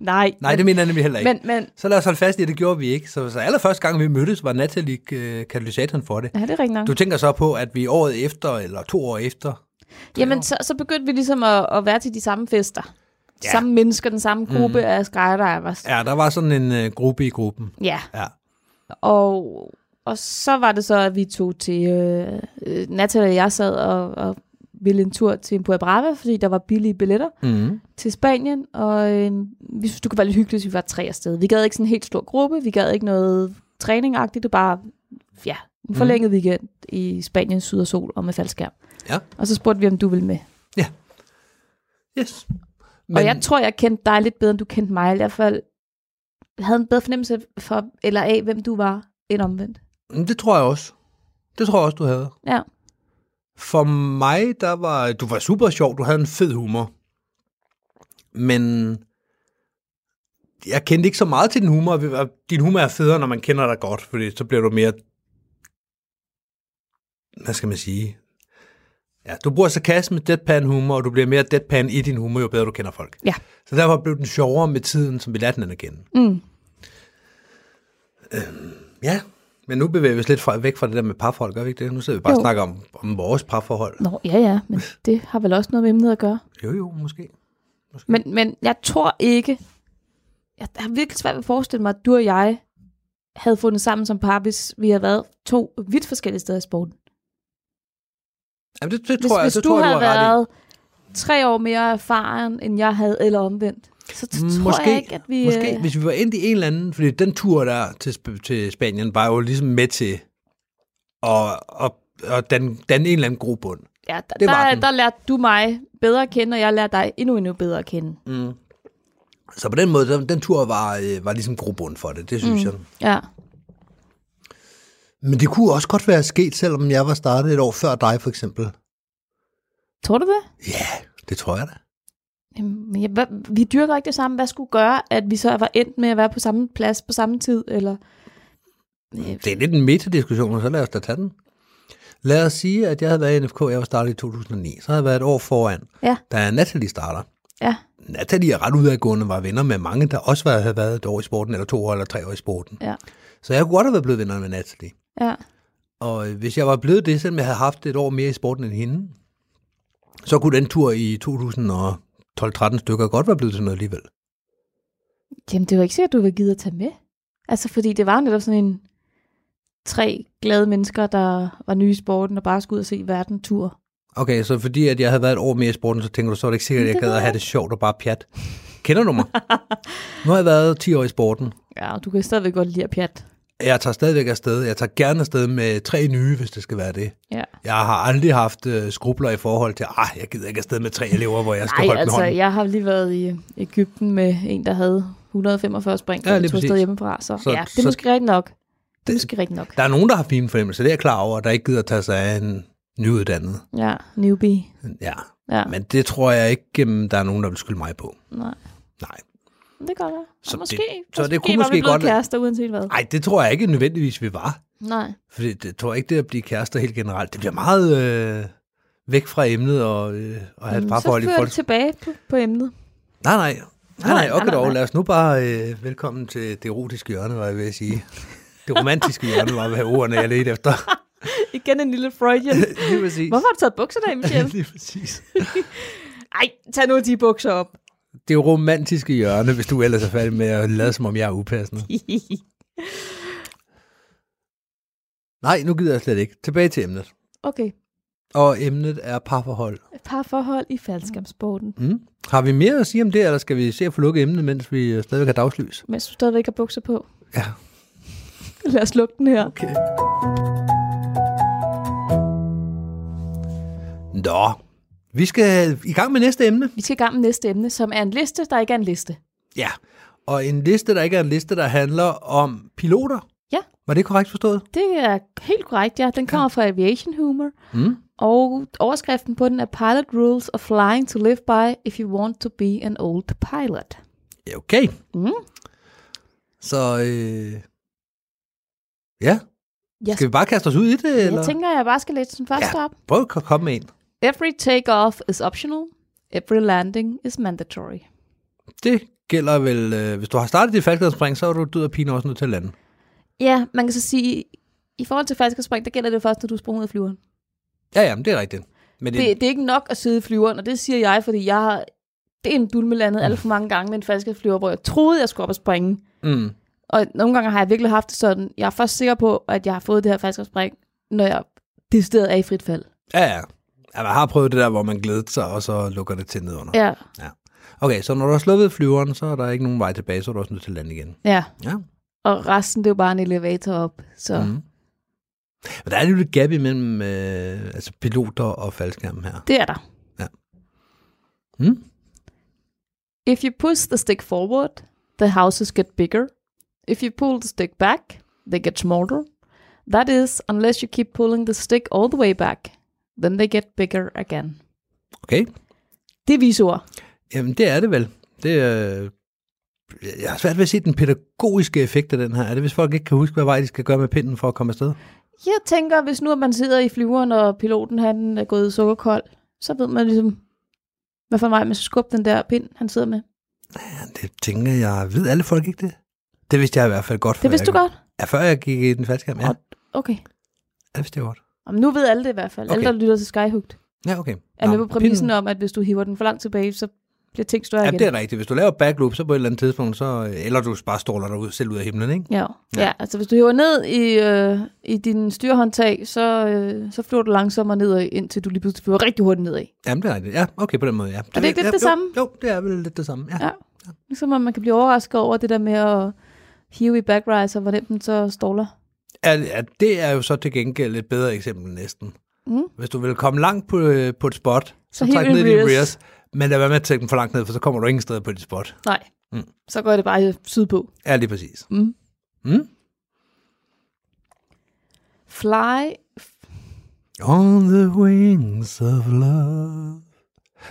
[SPEAKER 4] Nej,
[SPEAKER 3] Nej, det mener jeg nemlig heller ikke. Men...
[SPEAKER 4] men, men,
[SPEAKER 3] Så lad os holde fast i, at det gjorde vi ikke. Så, så allerførste gang, vi mødtes, var Natalie øh, katalysatoren for det.
[SPEAKER 4] ja, det er rigtigt nok.
[SPEAKER 3] Du tænker så på, at vi året efter, eller to år efter,
[SPEAKER 4] Jamen, så, så begyndte vi ligesom at, at være til de samme fester. De
[SPEAKER 3] Ja.
[SPEAKER 4] samme mennesker, den samme gruppe mm. af skydivers.
[SPEAKER 3] ja, der var sådan en øh, gruppe i gruppen.
[SPEAKER 4] ja.
[SPEAKER 3] Ja.
[SPEAKER 4] Og, og så var det så, at vi tog til... Øh, øh, Natalie og jeg sad og, og ville en tur til Puerto Brava, fordi der var billige billetter
[SPEAKER 3] Mm.
[SPEAKER 4] til Spanien. Og øh, vi synes, det kunne være lidt hyggeligt, hvis vi var tre afsted. Vi gad ikke sådan en helt stor gruppe. Vi gad ikke noget træning-agtigt. Det var bare ja, en forlænget mm. weekend i Spanien, syd og sol og med faldskærm.
[SPEAKER 3] Ja.
[SPEAKER 4] Og så spurgte vi, om du ville med.
[SPEAKER 3] Yes.
[SPEAKER 4] Men... Og jeg tror, jeg kendte dig lidt bedre, end du kendte mig. I hvert fald havde en bedre fornemmelse for, eller af, hvem du var, end omvendt.
[SPEAKER 3] Men Det tror jeg også. Det tror jeg også, du havde.
[SPEAKER 4] Ja.
[SPEAKER 3] For mig, der var... Du var super sjov. Du havde en fed humor. Men... Jeg kendte ikke så meget til din humor. og Din humor er federe, når man kender dig godt, fordi så bliver du mere... Hvad skal man sige? Ja, du bruger sarkasme, deadpan humor, og du bliver mere deadpan i din humor, jo bedre du kender folk.
[SPEAKER 4] Ja.
[SPEAKER 3] Så derfor blev den sjovere med tiden, som vi lærte den at kende.
[SPEAKER 4] Mm.
[SPEAKER 3] Ja, men nu bevæger vi os lidt fra, væk fra det der med parforhold, gør vi ikke det? Nu sidder vi bare
[SPEAKER 4] Jo.
[SPEAKER 3] og snakker om, om vores parforhold.
[SPEAKER 4] Nå, ja, ja, men det har vel også noget med emnet at gøre.
[SPEAKER 3] Jo, jo, måske.
[SPEAKER 4] Men, men jeg tror ikke, jeg har virkelig svært ved at forestille mig, at du og jeg havde fundet sammen som par, hvis vi havde været to vidt forskellige steder i sporten.
[SPEAKER 3] Jamen, det, det
[SPEAKER 4] Hvis,
[SPEAKER 3] tror jeg,
[SPEAKER 4] hvis
[SPEAKER 3] det
[SPEAKER 4] du
[SPEAKER 3] tror jeg,
[SPEAKER 4] havde
[SPEAKER 3] du har ret i.
[SPEAKER 4] været tre år mere erfaren, end jeg havde, eller omvendt, så t- tror
[SPEAKER 3] Mm. Måske,
[SPEAKER 4] jeg ikke, at vi...
[SPEAKER 3] Måske,
[SPEAKER 4] øh,
[SPEAKER 3] hvis vi var endt i en eller anden, fordi den tur der til, Sp- til Spanien var jo ligesom med til at, at, at danne, danne en eller anden grobund.
[SPEAKER 4] Ja, der,
[SPEAKER 3] Det var
[SPEAKER 4] der,
[SPEAKER 3] den.
[SPEAKER 4] der lærte du mig bedre at kende, og jeg lærte dig endnu, endnu bedre at kende.
[SPEAKER 3] Så på den måde, den, den tur var, øh, var ligesom grobund for det, det synes mm. jeg.
[SPEAKER 4] Ja.
[SPEAKER 3] Men det kunne også godt være sket, selvom jeg var startet et år før dig, for eksempel.
[SPEAKER 4] Tror du det?
[SPEAKER 3] Ja, det tror jeg da.
[SPEAKER 4] Jamen, jeg, hvad, vi dyrker ikke det samme. Hvad skulle gøre, at vi så var endt med at være på samme plads på samme tid? Eller...
[SPEAKER 3] Det er lidt en metadiskussion, så lad os da tage den. Lad os sige, at jeg havde været i NFK, jeg var startet i 2009. Så havde jeg været et år foran,
[SPEAKER 4] Ja.
[SPEAKER 3] da Natalie starter.
[SPEAKER 4] Ja.
[SPEAKER 3] Natalie er ret udadgående, var venner med mange, der også var, havde været et år i sporten, eller to år, eller tre år i sporten.
[SPEAKER 4] Ja.
[SPEAKER 3] Så jeg kunne godt have været blevet venner med Natalie.
[SPEAKER 4] Ja.
[SPEAKER 3] Og øh, hvis jeg var blevet det, selvom jeg havde haft et år mere i sporten end hende, så kunne den tur i 2012-13 stykker godt være blevet til noget alligevel.
[SPEAKER 4] Jamen, det var ikke sikkert, du var givet at tage med. Altså, fordi det var netop sådan en tre glade mennesker, der var nye i sporten og bare skulle ud og se verden tur.
[SPEAKER 3] Okay, så fordi at jeg havde været et år mere i sporten, så tænker du, så er det ikke sikkert, at jeg
[SPEAKER 4] Det
[SPEAKER 3] gad
[SPEAKER 4] ved
[SPEAKER 3] at
[SPEAKER 4] jeg
[SPEAKER 3] have det sjovt og bare pjat. Kender du mig? nu har jeg været 10 år i sporten.
[SPEAKER 4] Ja, og du kan stadigvæk godt lide at pjat.
[SPEAKER 3] Jeg tager stadigvæk afsted. Jeg tager gerne afsted med tre nye, hvis det skal være det.
[SPEAKER 4] Ja.
[SPEAKER 3] Jeg har aldrig haft øh, skrubler i forhold til, ah, jeg gider ikke afsted med tre elever, hvor jeg skal
[SPEAKER 4] Nej,
[SPEAKER 3] holde altså,
[SPEAKER 4] altså,
[SPEAKER 3] hånden.
[SPEAKER 4] jeg har lige været i Ægypten med en, der havde 145 spring,
[SPEAKER 3] Ja,
[SPEAKER 4] ja,
[SPEAKER 3] lige
[SPEAKER 4] og tog afsted
[SPEAKER 3] præcis.
[SPEAKER 4] hjemmefra. Så,
[SPEAKER 3] Så-
[SPEAKER 4] så ja, det er
[SPEAKER 3] så-
[SPEAKER 4] måske rigtigt nok. Det er
[SPEAKER 3] Det-
[SPEAKER 4] måske rigtigt nok.
[SPEAKER 3] Der er nogen, der har fine fornemmelser, det er jeg klar over, der ikke gider at tage sig af en nyuddannet.
[SPEAKER 4] Ja, newbie.
[SPEAKER 3] Ja,
[SPEAKER 4] Ja,
[SPEAKER 3] men det tror jeg ikke, um, der er nogen, der vil skylde mig på.
[SPEAKER 4] nej.
[SPEAKER 3] Nej.
[SPEAKER 4] Men Det gør jeg.
[SPEAKER 3] Så
[SPEAKER 4] Så måske,
[SPEAKER 3] det-
[SPEAKER 4] det,
[SPEAKER 3] så det
[SPEAKER 4] måske
[SPEAKER 3] kunne
[SPEAKER 4] var
[SPEAKER 3] måske
[SPEAKER 4] vi blevet
[SPEAKER 3] godt-
[SPEAKER 4] kærester, uanset hvad.
[SPEAKER 3] Nej, det tror jeg ikke nødvendigvis, vi var.
[SPEAKER 4] Nej.
[SPEAKER 3] For det, det tror jeg ikke, det at blive kærester helt generelt. Det bliver meget øh, væk fra emnet og, øh, og have et
[SPEAKER 4] Mm,
[SPEAKER 3] parforhold i
[SPEAKER 4] så fører
[SPEAKER 3] folk.
[SPEAKER 4] det tilbage på, på emlet.
[SPEAKER 3] Nej, nej. Nej, nej,
[SPEAKER 4] Nej,
[SPEAKER 3] okay
[SPEAKER 4] nej,
[SPEAKER 3] dog.
[SPEAKER 4] nej.
[SPEAKER 3] Lad os nu bare øh, velkommen til det erotiske hjørne, var jeg ved at sige. Det romantiske hjørne var, hvad ordene jeg ledte
[SPEAKER 4] *laughs*
[SPEAKER 3] efter.
[SPEAKER 4] Igen en lille Freudian.
[SPEAKER 3] Lige præcis.
[SPEAKER 4] Hvorfor har du taget bukserne af, Michelle?
[SPEAKER 3] Lige præcis.
[SPEAKER 4] *laughs* Ej, tag nu de bukser op. *laughs*
[SPEAKER 3] Det romantiske hjørne, hvis du ellers er færdig med at lade, som om jeg er upassende. Nej, nu gider jeg slet ikke. Tilbage til emnet.
[SPEAKER 4] okay,
[SPEAKER 3] Og emnet er parforhold.
[SPEAKER 4] et par forhold i faldskabssporten.
[SPEAKER 3] Mm. Har vi mere at sige om det, eller skal vi se at få lukket emnet, mens vi øh, stadigvæk har dagslys?
[SPEAKER 4] Mens du stadigvæk har bukser på.
[SPEAKER 3] Ja.
[SPEAKER 4] Lad os lukke den her.
[SPEAKER 3] Okay. Nå, vi skal i gang med næste emne.
[SPEAKER 4] Vi skal i gang med næste emne, som er en liste, der ikke er en liste.
[SPEAKER 3] Ja, og en liste, der ikke er en liste, der handler om piloter.
[SPEAKER 4] Ja.
[SPEAKER 3] Var det korrekt forstået?
[SPEAKER 4] Det er helt korrekt, ja. Den kommer fra Aviation Humor.
[SPEAKER 3] Mm.
[SPEAKER 4] Og overskriften på den er Pilot Rules of Flying to Live By If You Want to Be an Old Pilot.
[SPEAKER 3] Ja, okay.
[SPEAKER 4] Mm.
[SPEAKER 3] Så øh... ja,
[SPEAKER 4] Jeg,
[SPEAKER 3] skal vi bare kaste os ud i det?
[SPEAKER 4] jeg
[SPEAKER 3] eller?
[SPEAKER 4] tænker, at jeg bare skal læse den første op.
[SPEAKER 3] Prøv at komme med en.
[SPEAKER 4] Every takeoff is optional. Every landing is mandatory.
[SPEAKER 3] Det gælder vel, øh, hvis du har startet dit faldskærmspring, så er du død og pine også nødt til at lande.
[SPEAKER 4] Ja, man kan så sige, i forhold til falsk spring, der gælder det først, når du springer ud af flyveren.
[SPEAKER 3] Ja, ja, men det er rigtigt. Men
[SPEAKER 4] Det, det er ikke nok at sidde i flyveren, og det siger jeg, fordi jeg har det er en dulme landet alt for mange gange med en falsk flyver, hvor jeg troede, jeg skulle op og springe.
[SPEAKER 3] mm,
[SPEAKER 4] Og nogle gange har jeg virkelig haft det sådan, jeg er først sikker på, at jeg har fået det her falsk spring, når jeg decideret er i frit fald.
[SPEAKER 3] ja, ja. Ja, man har prøvet det der, hvor man glæder sig, og så lukker det til nedunder.
[SPEAKER 4] Ja,
[SPEAKER 3] Okay, så når du har sluppet flyveren, så er der ikke nogen vej tilbage, så er du også nødt til at lande igen.
[SPEAKER 4] ja.
[SPEAKER 3] Ja.
[SPEAKER 4] Og resten, det er jo bare en elevator op. Så mm.
[SPEAKER 3] Mm. Men der er lidt et gap imellem øh, altså piloter og faldskærm her.
[SPEAKER 4] det er der.
[SPEAKER 3] Mm?
[SPEAKER 4] If you push the stick forward, the houses get bigger. If you pull the stick back, they get smaller. That is, unless you keep pulling the stick all the way back, then they get bigger again.
[SPEAKER 3] Okay,
[SPEAKER 4] Det er visord.
[SPEAKER 3] jamen det er det vel. Det, øh, jeg har svært ved at se den pædagogiske effekt af den her. Er det, hvis folk ikke kan huske, hvad vej de skal gøre med pinden for at komme afsted?
[SPEAKER 4] Jeg tænker, hvis nu at man sidder i flyveren, og piloten han er gået sukkerkold, så ved man ligesom, hvad for en vej man skal skubbe den der pind, han sidder med.
[SPEAKER 3] Det tænker jeg. Ved alle folk ikke det? Det vidste jeg i hvert fald godt. før
[SPEAKER 4] Det vidste du
[SPEAKER 3] jeg,
[SPEAKER 4] godt?
[SPEAKER 3] Ja, før jeg gik i den faldskærm, ja.
[SPEAKER 4] Og- Okay.
[SPEAKER 3] Ja, det vidste jeg godt.
[SPEAKER 4] Jamen, nu ved alle det i hvert fald. Okay.
[SPEAKER 3] Okay.
[SPEAKER 4] Alle, der lytter til Skyhooked,
[SPEAKER 3] Ja, okay.
[SPEAKER 4] er med på præmissen
[SPEAKER 3] pinden-
[SPEAKER 4] om, at hvis du hiver den for langt tilbage, så bliver ting større
[SPEAKER 3] Ja,
[SPEAKER 4] igen.
[SPEAKER 3] det er rigtigt. Hvis du laver backloop, så på et eller andet tidspunkt, så, øh, eller du bare stråler dig ud, selv ud af himlen, ikke?
[SPEAKER 4] Ja.
[SPEAKER 3] Ja.
[SPEAKER 4] ja, ja altså hvis du hiver ned i, øh, i din styrhåndtag, så, øh, så flyver du langsommere nedad, indtil du lige pludselig flyver rigtig hurtigt nedad.
[SPEAKER 3] Jamen, det er rigtigt. Ja, okay, på den måde, ja.
[SPEAKER 4] Er det ikke
[SPEAKER 3] ja,
[SPEAKER 4] lidt det
[SPEAKER 3] jo,
[SPEAKER 4] samme?
[SPEAKER 3] Jo, det er vel lidt det samme, ja. ja.
[SPEAKER 4] Ja. Ligesom om man kan blive overrasket over det der med at hive i backrise, og hvor nemt den så ståler.
[SPEAKER 3] Ja, det er jo så til gengæld et bedre eksempel næsten.
[SPEAKER 4] Mm.
[SPEAKER 3] Hvis du vil komme langt på, øh, på et spot, så,
[SPEAKER 4] hiv
[SPEAKER 3] træk
[SPEAKER 4] i
[SPEAKER 3] ned i dine
[SPEAKER 4] rears.
[SPEAKER 3] rears, men lad være med at tænke den for langt ned, for så kommer du ingen steder på dit spot.
[SPEAKER 4] Nej,
[SPEAKER 3] Mm.
[SPEAKER 4] mm. så går det bare sydpå.
[SPEAKER 3] Ja, lige præcis.
[SPEAKER 4] Mm.
[SPEAKER 3] Mm?
[SPEAKER 4] Fly.
[SPEAKER 3] On the wings of love.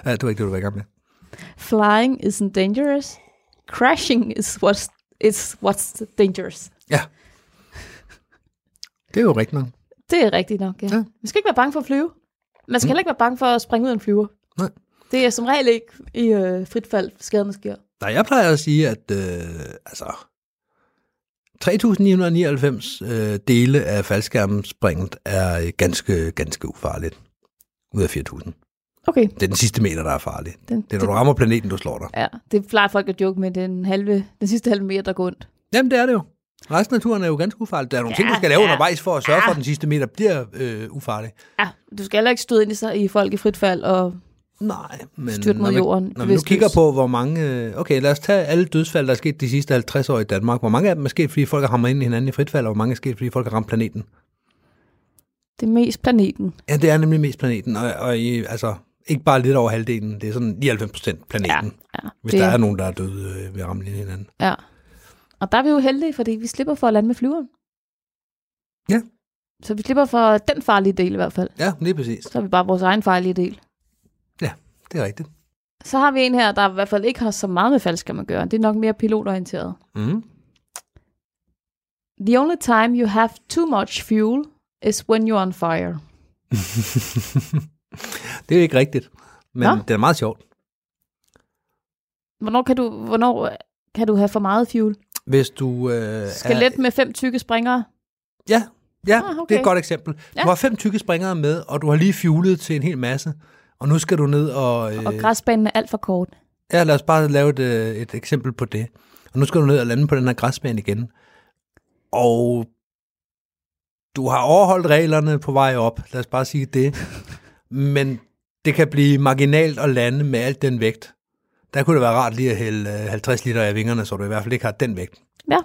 [SPEAKER 3] Ja, det var ikke det, du var i gang med.
[SPEAKER 4] Flying isn't dangerous. Crashing is what's, is what's dangerous.
[SPEAKER 3] Ja. Det er jo rigtigt nok.
[SPEAKER 4] Det er rigtigt nok, ja. Mm.
[SPEAKER 3] Ja.
[SPEAKER 4] ja. Man skal ikke være bange for at flyve. Man skal heller ikke være bange for at springe ud af en flyver.
[SPEAKER 3] Nej.
[SPEAKER 4] Det er som regel ikke i øh, frit fald, skaderne sker.
[SPEAKER 3] Nej, jeg plejer at sige, at øh, altså, 3.999 øh, dele af faldskærmspringet er øh, ganske, ganske ufarligt. Ud af 4.000.
[SPEAKER 4] Okay.
[SPEAKER 3] Det er den sidste meter, der er farlig.
[SPEAKER 4] Den,
[SPEAKER 3] Det er, når du rammer planeten, du slår dig.
[SPEAKER 4] ja, det plejer folk at joke med den, halve, den sidste halve meter, der går ondt.
[SPEAKER 3] Jamen, det er det jo. Resten af turen er jo ganske ufarlig. Der er nogle ja,
[SPEAKER 4] Ja,
[SPEAKER 3] ting, du skal lave
[SPEAKER 4] ja.
[SPEAKER 3] ja. undervejs for at sørge
[SPEAKER 4] Ja.
[SPEAKER 3] for, at den sidste meter bliver øh, ufarlig.
[SPEAKER 4] Ja, du skal heller ikke støde ind i, sig, i folk i frit fald, og
[SPEAKER 3] Nej, men
[SPEAKER 4] Styrt mod
[SPEAKER 3] når,
[SPEAKER 4] jorden,
[SPEAKER 3] man, når vi nu
[SPEAKER 4] bevidstløs.
[SPEAKER 3] kigger på, hvor mange... øh, Okay, lad os tage alle dødsfald, der er sket de sidste 50 år i Danmark. Hvor mange af dem er sket, fordi folk har hamret ind i hinanden i fritfald, og hvor mange er sket, fordi folk har ramt planeten?
[SPEAKER 4] det er mest planeten.
[SPEAKER 3] Ja, det er nemlig mest planeten, og, og i, altså ikke bare lidt over halvdelen, det er sådan 99 procent planeten, ja,
[SPEAKER 4] ja,
[SPEAKER 3] hvis
[SPEAKER 4] det,
[SPEAKER 3] der er nogen, der er døde øh, ved at ramme lige hinanden.
[SPEAKER 4] Ja. Og der er vi jo heldige, fordi vi slipper for at lande med flyveren.
[SPEAKER 3] Ja.
[SPEAKER 4] Så vi slipper for den farlige del i hvert fald.
[SPEAKER 3] Ja, lige præcis.
[SPEAKER 4] Så er vi bare vores egen farlige del.
[SPEAKER 3] Det er rigtigt.
[SPEAKER 4] Så har vi en her, der i hvert fald ikke har så meget med faldskærm at gøre. Det er nok mere pilotorienteret.
[SPEAKER 3] Mm.
[SPEAKER 4] The only time you have too much fuel is when you're on fire.
[SPEAKER 3] det er jo ikke rigtigt, men
[SPEAKER 4] Nå.
[SPEAKER 3] det er meget sjovt.
[SPEAKER 4] Hvornår kan du, hvornår øh, kan du have for meget fuel?
[SPEAKER 3] Hvis du øh,
[SPEAKER 4] Skelet
[SPEAKER 3] er...
[SPEAKER 4] med fem tykke springere.
[SPEAKER 3] Ja, ja
[SPEAKER 4] Ah,
[SPEAKER 3] ah, okay. det
[SPEAKER 4] okay.
[SPEAKER 3] er et godt eksempel. Du
[SPEAKER 4] Ja.
[SPEAKER 3] har fem tykke springere med, og du har lige fjulet til en hel masse, og nu skal du ned og... Øh,
[SPEAKER 4] Og græsbanen er alt for kort.
[SPEAKER 3] Ja, lad os bare lave et, øh, et eksempel på det. Og nu skal du ned og lande på den her græsbane igen. Og du har overholdt reglerne på vej op, lad os bare sige det. Men det kan blive marginalt at lande med alt den vægt. Der kunne det være rart lige at hælde øh, 50 liter af vingerne, så du i hvert fald ikke har den vægt.
[SPEAKER 4] Ja.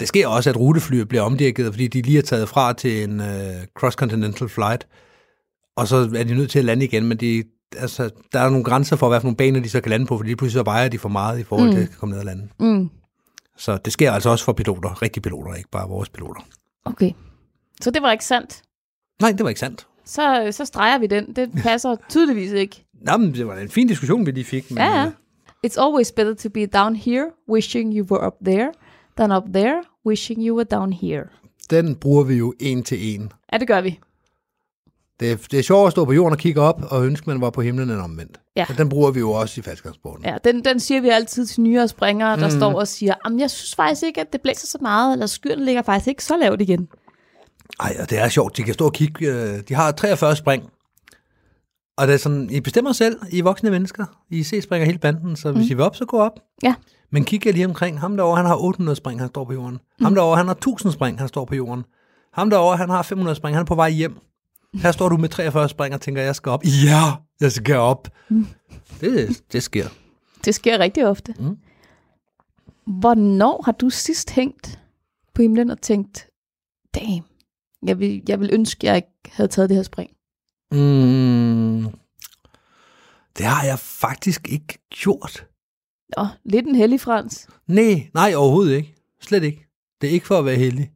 [SPEAKER 3] Det sker også, at rutefly bliver omdirigeret, fordi de lige er taget fra til en øh, cross-continental flight, og så er de nødt til at lande igen, men de, altså, der er nogle grænser for, hvad for nogle baner de så kan lande på, fordi lige pludselig så vejer de for meget i forhold til at komme ned og lande.
[SPEAKER 4] Mm.
[SPEAKER 3] Så det sker altså også for piloter, rigtige piloter, ikke bare vores piloter.
[SPEAKER 4] Okay. Så det var ikke sandt.
[SPEAKER 3] Nej, det var ikke sandt.
[SPEAKER 4] Så, øh, så streger vi den.
[SPEAKER 3] *laughs*
[SPEAKER 4] Det passer tydeligvis ikke.
[SPEAKER 3] Nå, men det var en fin diskussion, vi lige fik. Men,
[SPEAKER 4] Ja, ja.
[SPEAKER 3] øh,
[SPEAKER 4] It's always better to be down here, wishing you were up there, than up there, wishing you were down here.
[SPEAKER 3] Den bruger vi jo en til en.
[SPEAKER 4] Ja, det gør vi.
[SPEAKER 3] Det er, det er sjovt at stå på jorden og kigge op og ønske, man var på himlen end omvendt.
[SPEAKER 4] Ja.
[SPEAKER 3] Men den bruger vi jo også i faldskabsporten.
[SPEAKER 4] Ja, den, den siger vi altid til nyere springere, der mm. står og siger, "Jamen, jeg synes faktisk ikke, at det blæser så meget, eller skyerne ligger faktisk ikke så lavt igen.
[SPEAKER 3] Ej, og det er sjovt. De kan stå og kigge. øh, De har 43 spring. Og det er sådan, I bestemmer selv, I er voksne mennesker. I se springer hele banden, så hvis mm. I vil op, så gå op.
[SPEAKER 4] Ja.
[SPEAKER 3] Men kig jer lige omkring. Ham derovre, han har 800 spring, han står på jorden. Mm. Ham derovre, han har 1000 spring, han står på jorden. Ham derovre, han har 500 spring, han er på vej hjem. Her står du med 43 spring og tænker, jeg skal op. Ja, jeg skal op. Mm. Det, det sker.
[SPEAKER 4] Det sker rigtig ofte.
[SPEAKER 3] Mm.
[SPEAKER 4] Hvornår har du sidst hængt på himlen og tænkt, damn, jeg vil, jeg vil ønske, jeg ikke havde taget det her spring?
[SPEAKER 3] Mm. Det har jeg faktisk ikke gjort.
[SPEAKER 4] Nå, lidt en hellig frans.
[SPEAKER 3] Nej, nej, overhovedet ikke. Slet ikke. Det er ikke for at være heldig.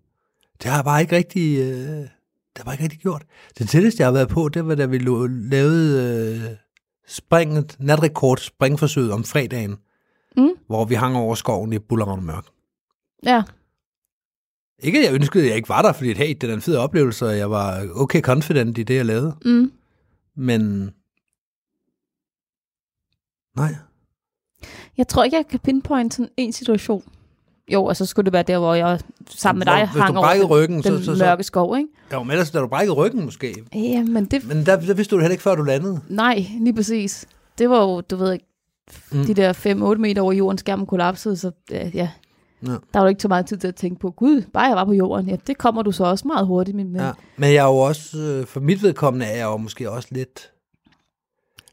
[SPEAKER 3] Det har jeg bare ikke rigtig, øh, det har jeg bare ikke rigtig gjort. Det tætteste, jeg har været på, det var, da vi lo- lavede øh, springet, natrekord springforsøget om fredagen,
[SPEAKER 4] Mm.
[SPEAKER 3] hvor vi hang over skoven i Bullerhavn Mørk.
[SPEAKER 4] Ja,
[SPEAKER 3] Ikke, at jeg ønskede, at jeg ikke var der, fordi hey, det er da en fed oplevelse, og jeg var okay confident i det, jeg lavede.
[SPEAKER 4] mm.
[SPEAKER 3] Men nej,
[SPEAKER 4] Jeg tror ikke, jeg kan pinpointe sådan en situation. Jo, altså skulle det være der, hvor jeg sammen med dig
[SPEAKER 3] Hvor- hvis du
[SPEAKER 4] hang over
[SPEAKER 3] brækkede
[SPEAKER 4] den,
[SPEAKER 3] ryggen,
[SPEAKER 4] den
[SPEAKER 3] så- så- så-
[SPEAKER 4] mørke skov, ikke?
[SPEAKER 3] jo, men ellers da du brækkede ryggen måske.
[SPEAKER 4] Ja, men det...
[SPEAKER 3] Men der, der vidste du det heller ikke, før du landede.
[SPEAKER 4] Nej, lige præcis. Det var jo, du ved ikke,
[SPEAKER 3] Mm.
[SPEAKER 4] de der 5-8 meter over jorden, skærmen kollapsede, så ja, ja.
[SPEAKER 3] Ja.
[SPEAKER 4] Der var jo ikke så meget tid til at tænke på, gud, bare jeg var på jorden. Ja, det kommer du så også meget hurtigt med.
[SPEAKER 3] Ja. Men jeg er jo også, øh, for mit vedkommende er jeg jo måske også lidt,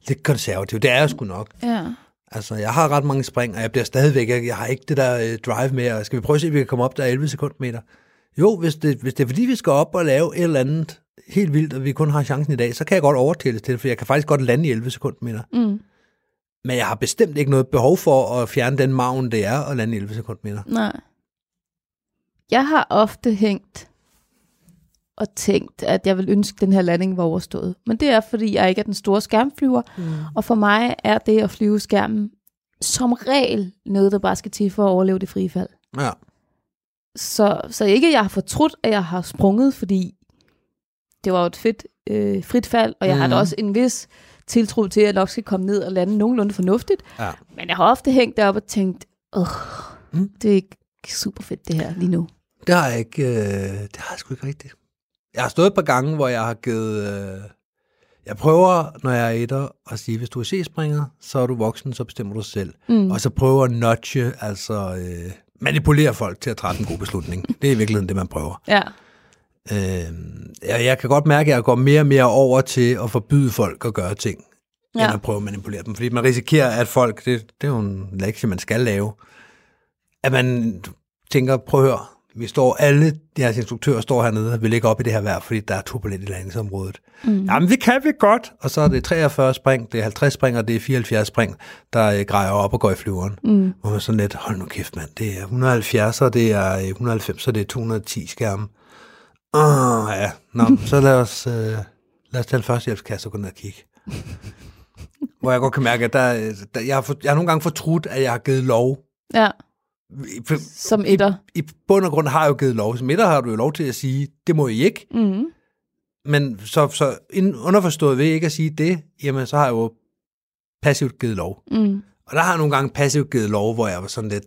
[SPEAKER 3] lidt konservativ. Det er jeg sgu nok.
[SPEAKER 4] ja.
[SPEAKER 3] Altså, jeg har ret mange spring, og jeg bliver stadigvæk, jeg, jeg har ikke det der øh, drive med, og skal vi prøve at se, om vi kan komme op der 11 sekundmeter? Jo, hvis det, hvis det er fordi, vi skal op og lave et eller andet helt vildt, og vi kun har chancen i dag, så kan jeg godt overtælles til det, for jeg kan faktisk godt lande i 11 sekundmeter.
[SPEAKER 4] Mm.
[SPEAKER 3] Men jeg har bestemt ikke noget behov for at fjerne den maven, det er at lande i 11 sekundmeter.
[SPEAKER 4] Nej. Jeg har ofte hængt og tænkt, at jeg vil ønske, at den her landing var overstået. Men det er, fordi jeg ikke er den store skærmflyver, mm. og for mig er det at flyve skærmen som regel noget, der bare skal til for at overleve det frie fald.
[SPEAKER 3] Ja.
[SPEAKER 4] Så, så ikke, at jeg har fortrudt, at jeg har sprunget, fordi det var jo et fedt øh, frit fald, og jeg mm. har da
[SPEAKER 3] Mhm.
[SPEAKER 4] også en vis tiltro til, at jeg nok skal komme ned og lande nogenlunde fornuftigt.
[SPEAKER 3] Ja.
[SPEAKER 4] Men jeg har ofte hængt deroppe og tænkt, åh,
[SPEAKER 3] Mm.
[SPEAKER 4] mm. det er ikke super fedt det her lige nu.
[SPEAKER 3] Det har jeg ikke, øh, det har jeg sgu ikke rigtigt. Jeg har stået et par gange, hvor jeg har givet, øh, jeg prøver, når jeg er etter, at sige, hvis du er C-springer, så er du voksen, så bestemmer du selv. Mm. Og så prøver at nudge, altså øh, manipulere folk til at træffe en god beslutning. Det er i virkeligheden det, man prøver.
[SPEAKER 4] Ja.
[SPEAKER 3] Øh, jeg, jeg kan godt mærke, at jeg går mere og mere over til at forbyde folk at gøre ting, ja. end
[SPEAKER 4] ja.
[SPEAKER 3] at prøve at manipulere dem. Fordi man risikerer, at folk, det, det er jo en lektie, man skal lave, at man tænker, prøv at høre, vi står alle, jeres instruktører står hernede og vil ikke op i det her vejr, fordi der er turbulent i landingsområdet. Mm. Jamen, det kan vi godt! Og så er det 43 spring, det er 50 spring, og det er 74 spring, der øh, grejer op og går i flyveren. Mm. Hvor man sådan lidt, hold nu kæft mand, det er 170, og det er øh, 190, og det er 210 skærme. Åh, Ah, ja. Nå, så lad os, øh, lad os tage en førstehjælpskasse og gå ned og kigge hvor jeg godt kan mærke, at der, øh, der, jeg, har for, jeg har nogle gange fortrudt, at jeg har givet lov.
[SPEAKER 4] ja.
[SPEAKER 3] I, for,
[SPEAKER 4] Som etter.
[SPEAKER 3] I bund og grund har jeg jo givet lov. Som etter har du jo lov til at sige, det må I ikke.
[SPEAKER 4] Mm.
[SPEAKER 3] Men så, så inden- underforstået ved ikke at sige det, jamen så har jeg jo passivt givet lov.
[SPEAKER 4] Mm.
[SPEAKER 3] Og der har jeg nogle gange passivt givet lov, hvor jeg var sådan lidt,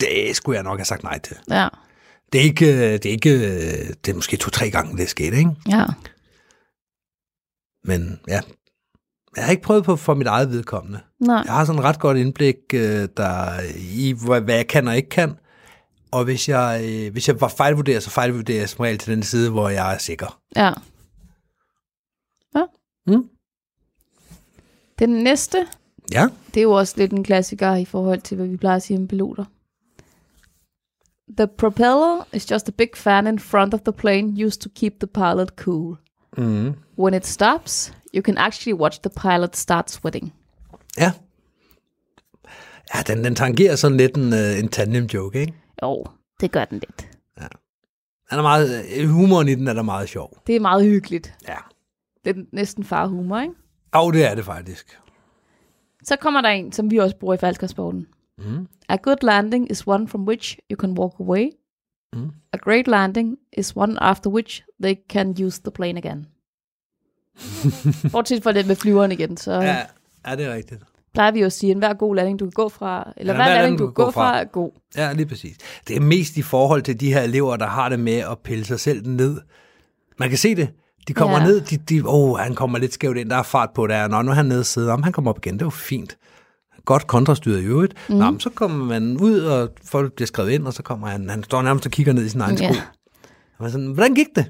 [SPEAKER 3] det skulle jeg nok have sagt nej til.
[SPEAKER 4] Ja.
[SPEAKER 3] Det er ikke, øh, det er, ikke, øh, det er måske to-tre gange, det er sket, ikke?
[SPEAKER 4] Ja.
[SPEAKER 3] Men ja, jeg har ikke prøvet på for mit eget vedkommende.
[SPEAKER 4] Nej.
[SPEAKER 3] Jeg har sådan ret godt indblik øh, der, i, hvad, hvad jeg kan og ikke kan. Og hvis jeg, øh, hvis jeg var fejlvurderet, så fejlvurderer jeg som regel til den side, hvor jeg er sikker.
[SPEAKER 4] Ja. ja.
[SPEAKER 3] Mm.
[SPEAKER 4] Den næste,
[SPEAKER 3] Ja.
[SPEAKER 4] det er jo også lidt en klassiker i forhold til, hvad vi plejer at sige om piloter. The propeller is just a big fan in front of the plane used to keep the pilot cool.
[SPEAKER 3] Mm.
[SPEAKER 4] When it stops, you can actually watch the pilot start sweating.
[SPEAKER 3] Ja. Ja, den, den tangerer sådan lidt en, øh, en tandem joke, ikke?
[SPEAKER 4] Jo, det gør den lidt.
[SPEAKER 3] Den er meget, øh, humoren i den er da meget sjov.
[SPEAKER 4] Det er meget hyggeligt.
[SPEAKER 3] Ja.
[SPEAKER 4] Det er næsten farhumor, ikke?
[SPEAKER 3] Og det er det faktisk.
[SPEAKER 4] Så kommer der en, som vi også bruger i falskersporten.
[SPEAKER 3] Mm.
[SPEAKER 4] A good landing is one from which you can walk away.
[SPEAKER 3] Mm.
[SPEAKER 4] A great landing is one after which they can use the plane *laughs* again. Bortset fra det med flyveren igen, så ja.
[SPEAKER 3] Ja, ja, det er rigtigt.
[SPEAKER 4] plejer vi jo at sige, at hver god landing, du kan gå fra, eller
[SPEAKER 3] Ja,
[SPEAKER 4] hver landing, du kan gå fra, er god.
[SPEAKER 3] Ja, lige præcis. Det er mest i forhold til de her elever, der har det med at pille sig selv ned. Man kan se det. De kommer
[SPEAKER 4] Ja.
[SPEAKER 3] ja. ned, de, de, oh, han kommer lidt skævt ind, der er fart på der. Nå, nu er han nede og sidder. Om han kommer op igen, det er jo fint. Godt kontrastyret i øvrigt. Mm. Nå, men så kommer man ud, og folk bliver skrevet ind, og så kommer han, han står nærmest og kigger ned i sin egen
[SPEAKER 4] Ja. Mm.
[SPEAKER 3] sko. Og man er sådan, hvordan gik det?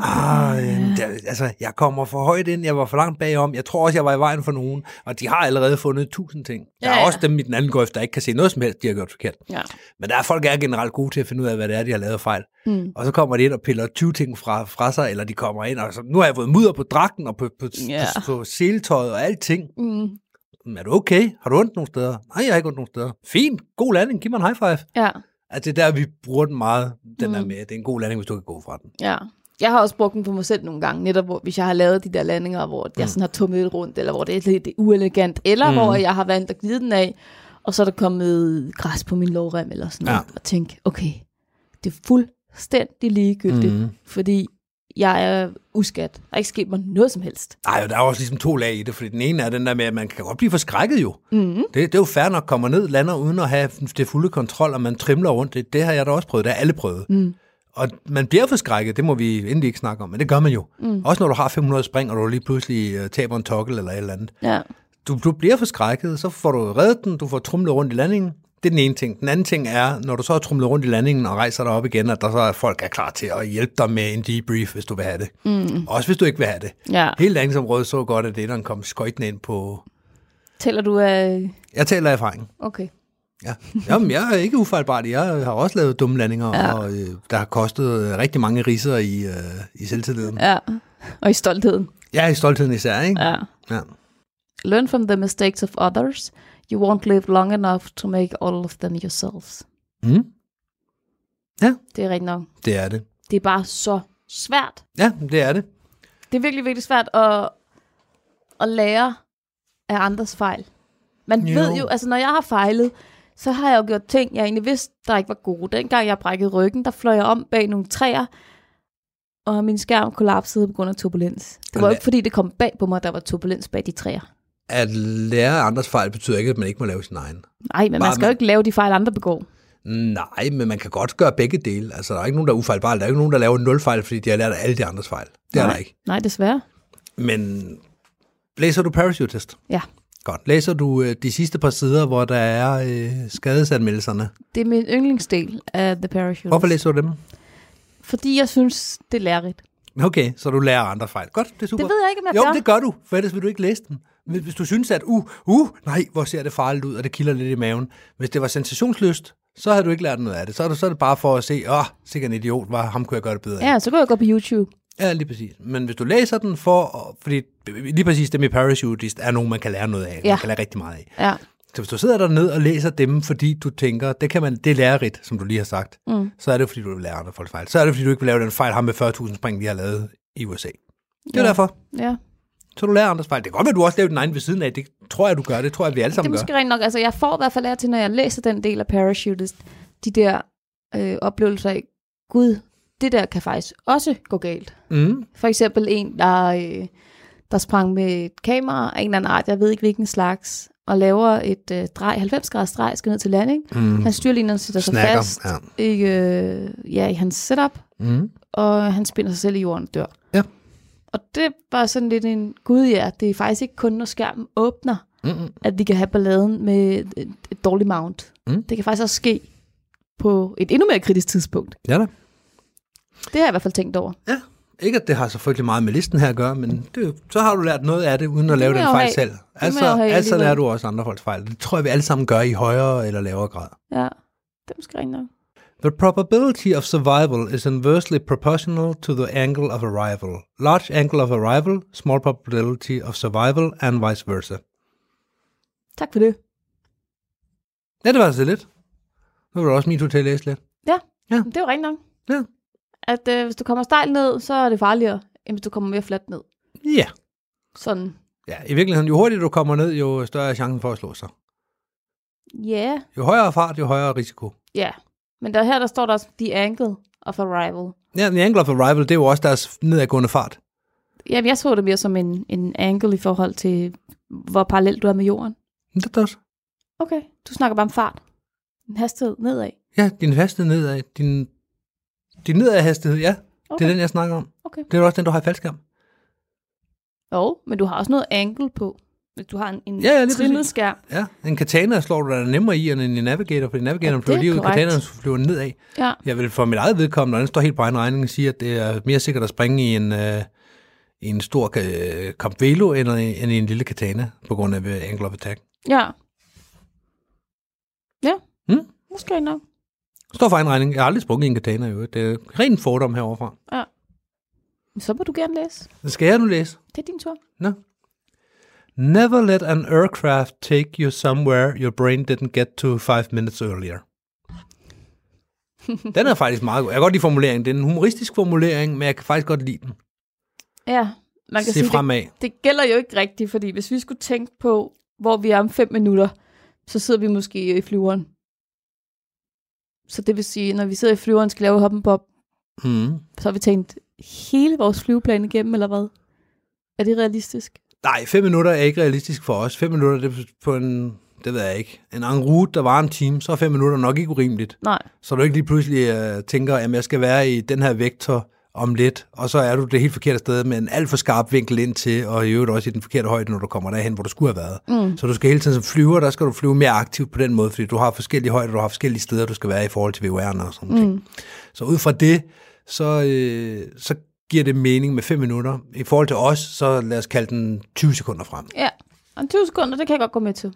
[SPEAKER 3] Ah, øh, der, altså, jeg kommer for højt ind, jeg var for langt bagom, jeg tror også, jeg var i vejen for nogen, og de har allerede fundet tusind ting. Der
[SPEAKER 4] Ja,
[SPEAKER 3] er
[SPEAKER 4] ja.
[SPEAKER 3] også dem i den anden grøft, der ikke kan se noget som helst, de har gjort forkert.
[SPEAKER 4] Ja.
[SPEAKER 3] Men der er folk, der er generelt gode til at finde ud af, hvad det er, de har lavet af fejl. Mm. Og så kommer de ind og piller 20 ting fra, fra sig, eller de kommer ind, og så, nu har jeg fået mudder på dragten, og på, på,
[SPEAKER 4] Ja.
[SPEAKER 3] yeah. på, på seletøjet og alting.
[SPEAKER 4] Mm.
[SPEAKER 3] "Men Er du okay? Har du ondt nogle steder? Nej, jeg har ikke ondt nogle steder. Fint, god landing, giv mig en high five.
[SPEAKER 4] ja,
[SPEAKER 3] Altså, det er der, vi bruger den meget, den mm. der med, det er en god landing, hvis du kan gå fra den.
[SPEAKER 4] ja. Jeg har også brugt den på mig selv nogle gange, netop hvor, hvis jeg har lavet de der landinger, hvor jeg sådan har tumlet lidt rundt, eller hvor det er lidt uelegant, eller mm. hvor jeg har valgt at glide den af, og så er der kommet græs på min lovrem, eller sådan
[SPEAKER 3] Ja.
[SPEAKER 4] noget, og tænke, okay, det er fuldstændig ligegyldigt, mm. fordi jeg er uskat. Der er ikke sket mig noget som helst.
[SPEAKER 3] Nej, der er også ligesom to lag i det, fordi den ene er den der med, at man kan godt blive forskrækket jo. Mm. Det, det er jo fair nok, kommer ned, lander uden at have det fulde kontrol, og man trimler rundt. Det, det har jeg da også prøvet, det har alle prøvet. Mm. Og man bliver forskrækket, det må vi endelig ikke snakke om, men det gør man jo. Mm. Også når du har 500 spring, og du lige pludselig øh, taber en tokkel eller et eller andet.
[SPEAKER 4] Ja.
[SPEAKER 3] Du, du bliver forskrækket, så får du reddet den, du får trumlet rundt i landingen. Det er den ene ting. Den anden ting er, når du så har trumlet rundt i landingen og rejser dig op igen, at der så er folk er klar til at hjælpe dig med en debrief, hvis du vil have det. Mm. Også hvis du ikke vil have det.
[SPEAKER 4] ja.
[SPEAKER 3] Hele landingsområdet så godt, at det, kom skøjtende ind på...
[SPEAKER 4] Tæller du af...
[SPEAKER 3] Jeg taler af erfaring.
[SPEAKER 4] Okay.
[SPEAKER 3] Ja. Jamen, jeg er ikke ufejlbarlig. Jeg har også lavet dumme landinger, ja. og øh, der har kostet øh, rigtig mange riser i, øh, i selvtilliden.
[SPEAKER 4] Ja. Og i stoltheden.
[SPEAKER 3] Ja, i stoltheden især, ikke?
[SPEAKER 4] Ja.
[SPEAKER 3] Ja.
[SPEAKER 4] Learn from the mistakes of others. You won't live long enough to make all of them yourselves.
[SPEAKER 3] Mm.
[SPEAKER 4] Det er rigtigt nok.
[SPEAKER 3] Det er det.
[SPEAKER 4] Det er bare så svært.
[SPEAKER 3] Ja, det er det.
[SPEAKER 4] Det er virkelig, virkelig svært at, at lære af andres fejl. Man
[SPEAKER 3] Jo.
[SPEAKER 4] jo. ved jo, altså når jeg har fejlet, så har jeg jo gjort ting, jeg egentlig vidste, der ikke var gode. Dengang jeg brækkede ryggen, der fløj jeg om bag nogle træer, og min skærm kollapsede på grund af turbulens. Det var
[SPEAKER 3] Og
[SPEAKER 4] ikke, fordi det kom bag på mig, at der var turbulens bag de træer.
[SPEAKER 3] At lære andres fejl betyder ikke, at man ikke må lave sin egen.
[SPEAKER 4] Nej, men
[SPEAKER 3] Bare
[SPEAKER 4] man skal jo
[SPEAKER 3] man-
[SPEAKER 4] ikke lave de fejl, andre begår.
[SPEAKER 3] Nej, men man kan godt gøre begge dele. Altså, der er ikke nogen, der er ufejlbare. Der er ikke nogen, der laver nul fejl, fordi de har lært af alle de andres fejl. Det er
[SPEAKER 4] Nej.
[SPEAKER 3] der ikke.
[SPEAKER 4] Nej, desværre.
[SPEAKER 3] Men læser du parachutist?
[SPEAKER 4] Ja.
[SPEAKER 3] Godt. Læser du øh, de sidste par sider, hvor der er øh, skadesanmeldelserne?
[SPEAKER 4] Det er min yndlingsdel af The Parachute.
[SPEAKER 3] Hvorfor læser du dem?
[SPEAKER 4] Fordi jeg synes, det er lærerigt.
[SPEAKER 3] Okay, så du lærer andre fejl. Godt, det er super.
[SPEAKER 4] Det ved jeg ikke, om jeg
[SPEAKER 3] jo,
[SPEAKER 4] gør.
[SPEAKER 3] det gør du, for ellers vil du ikke læse dem. Hvis hvis du synes, at uh, uh, nej, hvor ser det farligt ud, og det kilder lidt i maven. Hvis det var sensationsløst, så havde du ikke lært noget af det. Så er det, så er det bare for at se, åh, oh, sikkert en idiot, var, ham kunne jeg gøre det bedre. af."
[SPEAKER 4] Ja, så kan jeg gå på YouTube.
[SPEAKER 3] ja, lige præcis. Men hvis du læser den for, at- fordi lige præcis det med parachutist er nogen, man kan lære noget af. Ja.
[SPEAKER 4] Ja.
[SPEAKER 3] Man kan lære rigtig meget af.
[SPEAKER 4] Ja.
[SPEAKER 3] Så hvis du sidder dernede og læser dem, fordi du tænker, det, kan man, det er lærerigt, som du lige har sagt, mm. så er det jo, fordi, du vil lære andre folk fejl. Så er det, fordi du ikke vil lave den fejl, ham med 40.000 spring, de har lavet i USA. Det er ja.
[SPEAKER 4] Ja.
[SPEAKER 3] derfor.
[SPEAKER 4] Ja.
[SPEAKER 3] Så du lærer andres fejl. Det kan godt være, du også laver din egen ved siden af. Det tror jeg, du gør. Det tror jeg, vi alle
[SPEAKER 4] Det er
[SPEAKER 3] sammen gør.
[SPEAKER 4] måske rent nok. Altså, jeg får i hvert fald af og til, når jeg læser den del af Parachutist, de der øh, oplevelser af, gud, det der kan faktisk også gå galt.
[SPEAKER 3] Mm.
[SPEAKER 4] For eksempel en, der, øh, der sprang med et kamera af en eller anden art, jeg ved ikke hvilken slags, og laver et øh, drej, 90 graders drej, skal ned til landing.
[SPEAKER 3] Mm.
[SPEAKER 4] Han styrlineren sætter sig
[SPEAKER 3] Snakker,
[SPEAKER 4] fast ja. i, øh, ja, i hans setup,
[SPEAKER 3] Mm.
[SPEAKER 4] og han spinder sig selv i jorden og dør.
[SPEAKER 3] Ja.
[SPEAKER 4] Og det var sådan lidt en, gud ja, det er faktisk ikke kun, når skærmen åbner,
[SPEAKER 3] Mm.
[SPEAKER 4] at vi kan have balladen med et, et dårligt mount.
[SPEAKER 3] Mm.
[SPEAKER 4] Det kan faktisk også ske på et endnu mere kritisk tidspunkt.
[SPEAKER 3] Ja da.
[SPEAKER 4] Det har jeg i hvert fald tænkt over.
[SPEAKER 3] Ja. Ikke, at det har så frygtelig meget med listen her at gøre, men det, så har du lært noget af det, uden at lave
[SPEAKER 4] må
[SPEAKER 3] den
[SPEAKER 4] jeg jo
[SPEAKER 3] fejl
[SPEAKER 4] have.
[SPEAKER 3] selv.
[SPEAKER 4] må
[SPEAKER 3] Altså,
[SPEAKER 4] jeg jo have
[SPEAKER 3] altså
[SPEAKER 4] alligevel.
[SPEAKER 3] lærer du også andre folks fejl. Det tror jeg, vi alle sammen gør i højere eller lavere grad.
[SPEAKER 4] Ja, det er måske rent nok.
[SPEAKER 3] The probability of survival is inversely proportional to the angle of arrival. Large angle of arrival, small probability of survival, and vice versa.
[SPEAKER 4] Tak for det.
[SPEAKER 3] Ja, det var altså lidt. Nu var det også min tur til at læse lidt.
[SPEAKER 4] Men Det er jo rent nok.
[SPEAKER 3] Ja.
[SPEAKER 4] At øh, hvis du kommer stejlt ned, så er det farligere, end hvis du kommer mere fladt ned.
[SPEAKER 3] Ja.
[SPEAKER 4] Sådan,
[SPEAKER 3] Ja, i virkeligheden, jo hurtigere du kommer ned, jo større er chancen for at slå sig.
[SPEAKER 4] ja, yeah,
[SPEAKER 3] Jo højere fart, jo højere risiko.
[SPEAKER 4] ja. Yeah. Men der her, der står der også, the angle of arrival.
[SPEAKER 3] Ja, the angle of arrival, det er jo også deres nedadgående fart.
[SPEAKER 4] Jamen, jeg så det mere som en, en angle i forhold til, hvor parallelt du er med jorden.
[SPEAKER 3] Men Det er også.
[SPEAKER 4] Okay, du snakker bare om fart. En hastighed nedad.
[SPEAKER 3] Ja, din hastighed nedad. Din, din nedad hastighed, ja. Okay. Det
[SPEAKER 4] Okay.
[SPEAKER 3] er den, jeg snakker om.
[SPEAKER 4] Okay.
[SPEAKER 3] Det er også den, du har i faldskærm.
[SPEAKER 4] Jo, men du har også noget angle på. Hvis du har en, en
[SPEAKER 3] Ja, ja, lige
[SPEAKER 4] trimmet
[SPEAKER 3] præcis.
[SPEAKER 4] skærm.
[SPEAKER 3] Ja, en katana slår du dig nemmere i, end en navigator, fordi navigatoren
[SPEAKER 4] Ja, det
[SPEAKER 3] flyver
[SPEAKER 4] er
[SPEAKER 3] lige ud,
[SPEAKER 4] korrekt.
[SPEAKER 3] katanaen flyver nedad.
[SPEAKER 4] Ja,
[SPEAKER 3] Jeg vil for mit eget vedkommende, og den står helt på egen regning, sige, at det er mere sikkert at springe i en, øh, i en stor øh, Camp Velo, end, i- end i en lille katana, på grund af øh, angle of attack.
[SPEAKER 4] ja. Ja,
[SPEAKER 3] Mm.
[SPEAKER 4] måske nok.
[SPEAKER 3] Står for egen regning. Jeg har aldrig sprunget i en katana, jo. Det er ren fordom heroverfra.
[SPEAKER 4] Men Så må du gerne læse.
[SPEAKER 3] Skal jeg nu læse?
[SPEAKER 4] Det er din tur.
[SPEAKER 3] No. Never let an aircraft take you somewhere your brain didn't get to five minutes
[SPEAKER 4] *laughs*
[SPEAKER 3] earlier. Den er faktisk meget god. Jeg kan godt lide formuleringen. Det er en humoristisk formulering, men jeg kan faktisk godt lide den.
[SPEAKER 4] Ja, man kan
[SPEAKER 3] Se
[SPEAKER 4] sige, det,
[SPEAKER 3] fremad.
[SPEAKER 4] det gælder jo ikke rigtigt, fordi hvis vi skulle tænke på, hvor vi er om fem minutter, så sidder vi måske i flyveren. Så det vil sige, når vi sidder i flyveren og skal lave hoppen bob,
[SPEAKER 3] Mm.
[SPEAKER 4] så har vi tænkt hele vores flyveplan igennem, eller hvad? Er det realistisk?
[SPEAKER 3] Nej, fem minutter er ikke realistisk for os. Fem minutter det er på en, det ved jeg ikke, en en route, der var en time, så er fem minutter nok ikke urimeligt.
[SPEAKER 4] Nej.
[SPEAKER 3] Så du ikke lige pludselig uh, tænker, at jeg skal være i den her vektor om lidt, og så er du det helt forkerte sted med en alt for skarp vinkel ind til, og i øvrigt også i den forkerte højde, når du kommer derhen, hvor du skulle have været. Mm. Så du skal hele tiden som flyver, der skal du flyve mere aktivt på den måde, fordi du har forskellige højder, du har forskellige steder, du skal være i forhold til VUR'en og sådan noget. Mm. Så ud fra det, så, øh, så giver det mening med 5 minutter. I forhold til os, så lad os kalde den 20 sekunder frem.
[SPEAKER 4] Ja, og 20 sekunder, det kan jeg godt gå med til.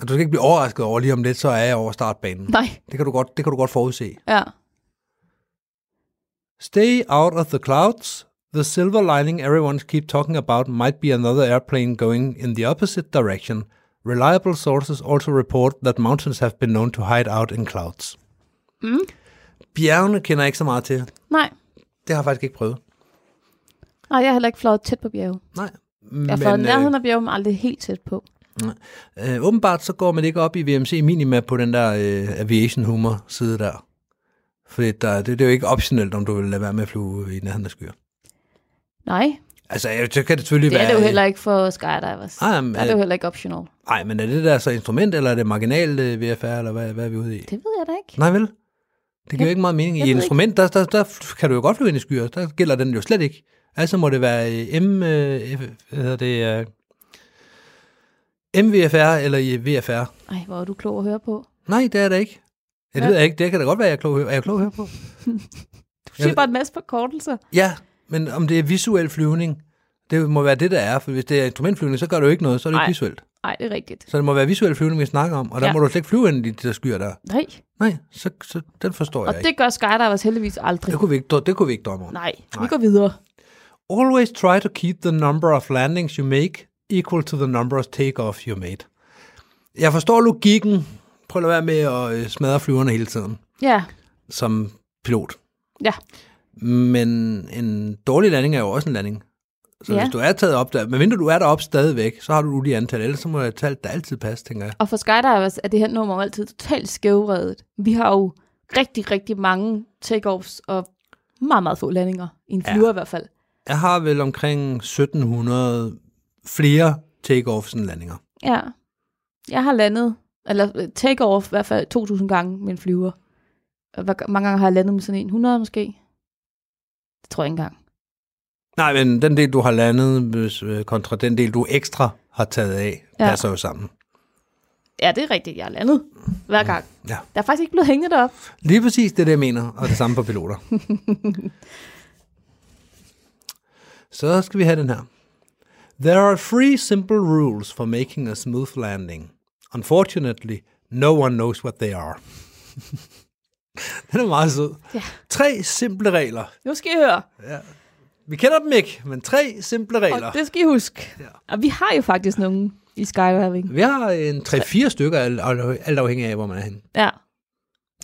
[SPEAKER 3] Og du skal ikke blive overrasket over lige om lidt, så er jeg over startbanen.
[SPEAKER 4] Nej,
[SPEAKER 3] Det kan du godt, det kan du godt forudse.
[SPEAKER 4] ja.
[SPEAKER 3] Stay out of the clouds. The silver lining everyone's keep talking about might be another airplane going in the opposite direction. Reliable sources also report that mountains have been known to hide out in clouds.
[SPEAKER 4] Mm.
[SPEAKER 3] Bjergene kender jeg ikke så meget til.
[SPEAKER 4] Nej,
[SPEAKER 3] Det har jeg faktisk ikke prøvet.
[SPEAKER 4] nej, jeg har heller ikke fløjet tæt på bjerge.
[SPEAKER 3] Nej.
[SPEAKER 4] Jeg har fløjet nærheden af bjerge, men øh, aldrig helt tæt på.
[SPEAKER 3] øh, øh, åbenbart så går man ikke op i VMC Minima på den der øh, aviation humor side der. For det, der, det, det er jo ikke optionelt, om du vil lade være med at flyve i nærheden af skyer.
[SPEAKER 4] Nej,
[SPEAKER 3] Altså, jeg, så kan det selvfølgelig
[SPEAKER 4] det
[SPEAKER 3] være... øh, Ah,
[SPEAKER 4] er det jo heller ikke for skydivers.
[SPEAKER 3] Nej, men,
[SPEAKER 4] Der er det jo heller ikke optional.
[SPEAKER 3] nej, men er det der så instrument, eller er det marginal øh, VFR, eller hvad, hvad er vi ude i?
[SPEAKER 4] Det ved jeg da ikke.
[SPEAKER 3] Nej vel? Det giver jo ikke meget mening.
[SPEAKER 4] jeg
[SPEAKER 3] I et
[SPEAKER 4] ved
[SPEAKER 3] instrument, der, der, der kan du jo godt flyve ind i skyer. Der gælder den jo slet ikke. Altså må det være øh, M, øh, F, hvad hedder det, øh, MVFR eller i VFR.
[SPEAKER 4] Ej, hvor er du klog at høre på.
[SPEAKER 3] Nej, det er det ikke. Ja, det
[SPEAKER 4] Ja.
[SPEAKER 3] ved jeg ikke. Det kan da godt være, at jeg er klog, er jeg klog her på.
[SPEAKER 4] Du siger
[SPEAKER 3] ved-
[SPEAKER 4] bare en masse forkortelser.
[SPEAKER 3] Ja, men om det er visuel flyvning, det må være det, der er. For hvis det er instrumentflyvning, så gør det jo ikke noget. Så er det
[SPEAKER 4] Nej.
[SPEAKER 3] ikke visuelt.
[SPEAKER 4] Nej, det er rigtigt.
[SPEAKER 3] Så det må være visuel flyvning, vi snakker om. Og der ja.
[SPEAKER 4] Ja.
[SPEAKER 3] må du slet ikke flyve ind i de der skyer der.
[SPEAKER 4] Nej,
[SPEAKER 3] Nej, så, så den forstår
[SPEAKER 4] og
[SPEAKER 3] jeg ikke.
[SPEAKER 4] det gør skydivers heldigvis aldrig.
[SPEAKER 3] Det kunne, vi ikke, det kunne vi ikke drømme om.
[SPEAKER 4] Nej, vi
[SPEAKER 3] Nej.
[SPEAKER 4] går videre.
[SPEAKER 3] Always try to keep the number of landings you make equal to the number of takeoff you made. Jeg forstår logikken. Prøv at lade være med at øh, smadre flyverne hele tiden
[SPEAKER 4] Ja,
[SPEAKER 3] som pilot.
[SPEAKER 4] ja,
[SPEAKER 3] Men en dårlig landing er jo også en landing. Så ja.
[SPEAKER 4] Ja.
[SPEAKER 3] hvis du er taget op der, medmindre du er deroppe stadigvæk, så har du et ulige antal, ellers så må et tal, der altid passe, tænker jeg.
[SPEAKER 4] og for skydivers er det her nummer jo altid totalt skævredet. Vi har jo rigtig, rigtig mange takeoffs og meget, meget få landinger. I en flyver ja. i hvert fald.
[SPEAKER 3] Jeg har vel omkring 1700 flere takeoffs end landinger.
[SPEAKER 4] Ja. Jeg har landet, eller øh, take-off i hvert fald 2.000 gange med en flyver. Og Hvor mange gange har jeg landet med sådan en? 100 måske? Det tror jeg ikke engang.
[SPEAKER 3] Nej, men den del, du har landet, hvis, øh, kontra den del, du ekstra har taget af, ja.
[SPEAKER 4] Ja.
[SPEAKER 3] passer jo sammen.
[SPEAKER 4] Ja, det er rigtigt, jeg har landet hver gang.
[SPEAKER 3] Mm. Ja.
[SPEAKER 4] Der er faktisk ikke blevet hængende derop.
[SPEAKER 3] Lige præcis det, er det jeg mener, og det samme for
[SPEAKER 4] *laughs*
[SPEAKER 3] piloter. Så skal vi have den her. There are three simple rules for making a smooth landing. Unfortunately, no one knows what they are. *laughs* den er meget sød.
[SPEAKER 4] Ja.
[SPEAKER 3] Tre simple regler.
[SPEAKER 4] Nu skal I høre,
[SPEAKER 3] Vi kender dem ikke, men tre simple regler.
[SPEAKER 4] og det skal I huske. Ja. Og vi har jo faktisk nogen i skydiving.
[SPEAKER 3] Vi har en 3-4 stykker, alt, alt afhængig af, hvor man er henne.
[SPEAKER 4] Ja.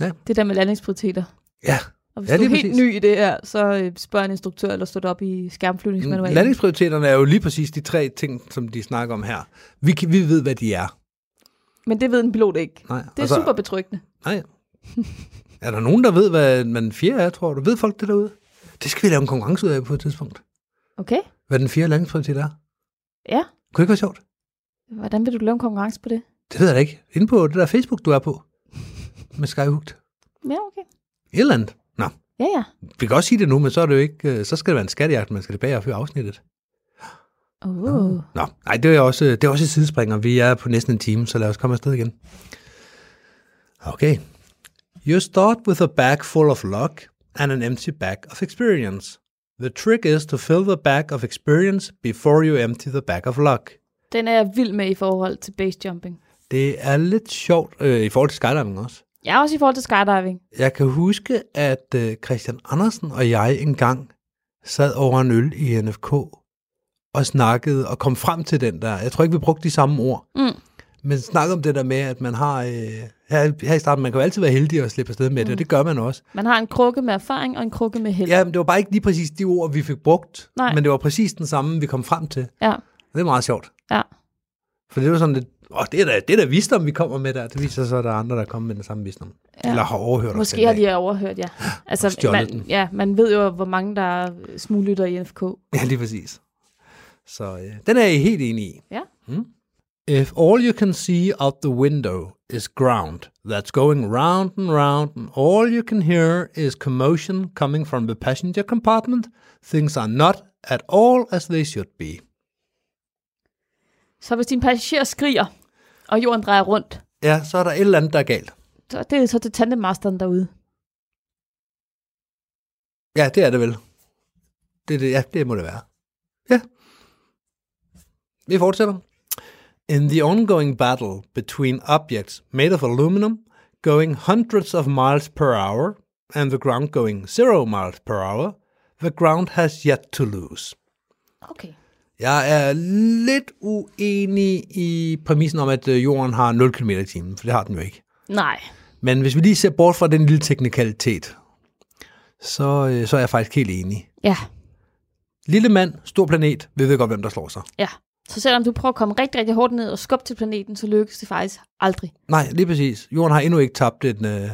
[SPEAKER 3] Ja.
[SPEAKER 4] Det der med landingsprioriteter.
[SPEAKER 3] Ja,
[SPEAKER 4] Og hvis
[SPEAKER 3] Ja,
[SPEAKER 4] ja, du er
[SPEAKER 3] lige
[SPEAKER 4] helt
[SPEAKER 3] præcis.
[SPEAKER 4] ny i det her, så øh, spørg en instruktør, eller stå op i skærmflyvningsmanualen.
[SPEAKER 3] Mm, landingsprioriteterne er jo lige præcis de tre ting, som de snakker om her. Vi, kan- vi ved, hvad de er.
[SPEAKER 4] Men det ved en pilot ikke.
[SPEAKER 3] Nej,
[SPEAKER 4] Det er
[SPEAKER 3] og så-
[SPEAKER 4] super betryggende.
[SPEAKER 3] Nej. Er der nogen, der ved, hvad den fjerde er, tror du? Ved folk det derude? Det skal vi lave en konkurrence ud af på et tidspunkt.
[SPEAKER 4] Okay?
[SPEAKER 3] Hvad den fjerde landingsprioritet er.
[SPEAKER 4] Ja.
[SPEAKER 3] Kunne ikke være sjovt?
[SPEAKER 4] Hvordan vil du lave en konkurrence på det?
[SPEAKER 3] Det ved jeg da ikke. Inde på det der Facebook, du er på. Med Skyhooked.
[SPEAKER 4] Ja, okay.
[SPEAKER 3] Et eller andet. Nå,
[SPEAKER 4] Ja, ja.
[SPEAKER 3] vi kan også sige det nu, men så, er det jo ikke, øh, så skal det være en skattejagt, man skal tilbage og høre afsnittet.
[SPEAKER 4] Oh.
[SPEAKER 3] Nå, nej, det er også, det er også et sidespringer. Vi er på næsten en time, så lad os komme afsted igen. Okay. You start with a bag full of luck and an empty bag of experience. The trick is to fill the bag of experience before you empty the bag of luck.
[SPEAKER 4] Den er jeg vild med i forhold til base jumping.
[SPEAKER 3] Det er lidt sjovt øh, i forhold til skydiving også.
[SPEAKER 4] Jeg er også i forhold til skydiving.
[SPEAKER 3] Jeg kan huske, at øh, Christian Andersen og jeg engang sad over en øl i NFK og snakkede og kom frem til den der. Jeg tror ikke, vi brugte de samme ord.
[SPEAKER 4] Mm.
[SPEAKER 3] Men snak om det der med, at man har... Øh, her, her i starten, man kan jo altid være heldig at slippe afsted med
[SPEAKER 4] Mm.
[SPEAKER 3] det, og det gør man også.
[SPEAKER 4] Man har en krukke med erfaring og en krukke med held.
[SPEAKER 3] Ja, men det var bare ikke lige præcis de ord, vi fik brugt,
[SPEAKER 4] Nej.
[SPEAKER 3] men det var præcis den samme, vi kom frem til.
[SPEAKER 4] ja.
[SPEAKER 3] Og det er meget sjovt.
[SPEAKER 4] ja.
[SPEAKER 3] For det var sådan lidt... Åh, det er da, det er da visdom, vi kommer med der. Det viser sig, at der er andre, der kommer med den samme visdom. Ja.
[SPEAKER 4] Ja.
[SPEAKER 3] Eller har overhørt os den
[SPEAKER 4] Måske har
[SPEAKER 3] dag.
[SPEAKER 4] de overhørt,
[SPEAKER 3] *gasps*
[SPEAKER 4] ja. Altså,
[SPEAKER 3] stjålet den.
[SPEAKER 4] man, ja, man ved jo, hvor mange der er smuglytter i NFK.
[SPEAKER 3] *laughs* Ja, lige præcis. Så øh, den er jeg helt enig i.
[SPEAKER 4] Ja.
[SPEAKER 3] Mm. If all you can see out the window is ground that's going round and round, and all you can hear is commotion coming from the passenger compartment, things are not at all as they should be.
[SPEAKER 4] Så hvis din passager skriger, og jorden drejer rundt,
[SPEAKER 3] Ja, så er der et eller andet, der er galt.
[SPEAKER 4] så det er så til tandemasteren derude.
[SPEAKER 3] Ja, det er det vel. Det, er det, ja, det må det være. Ja. Vi fortsætter. In the ongoing battle between objects made of aluminum going hundreds of miles per hour and the ground going zero miles per hour, the ground has yet to lose.
[SPEAKER 4] Okay.
[SPEAKER 3] Jeg er lidt uenig i præmissen om, at øh, jorden har 0 km i timen, for det har den jo ikke.
[SPEAKER 4] Nej.
[SPEAKER 3] Men hvis vi lige ser bort fra den lille teknikalitet, så, øh, så er jeg faktisk helt enig.
[SPEAKER 4] Ja,
[SPEAKER 3] Lille mand, stor planet, vi ved godt, hvem der slår sig.
[SPEAKER 4] ja. Så selvom du prøver at komme rigtig, rigtig hårdt ned og skubbe til planeten, så lykkes det faktisk aldrig.
[SPEAKER 3] Nej, lige præcis. Jorden har endnu ikke tabt en, øh,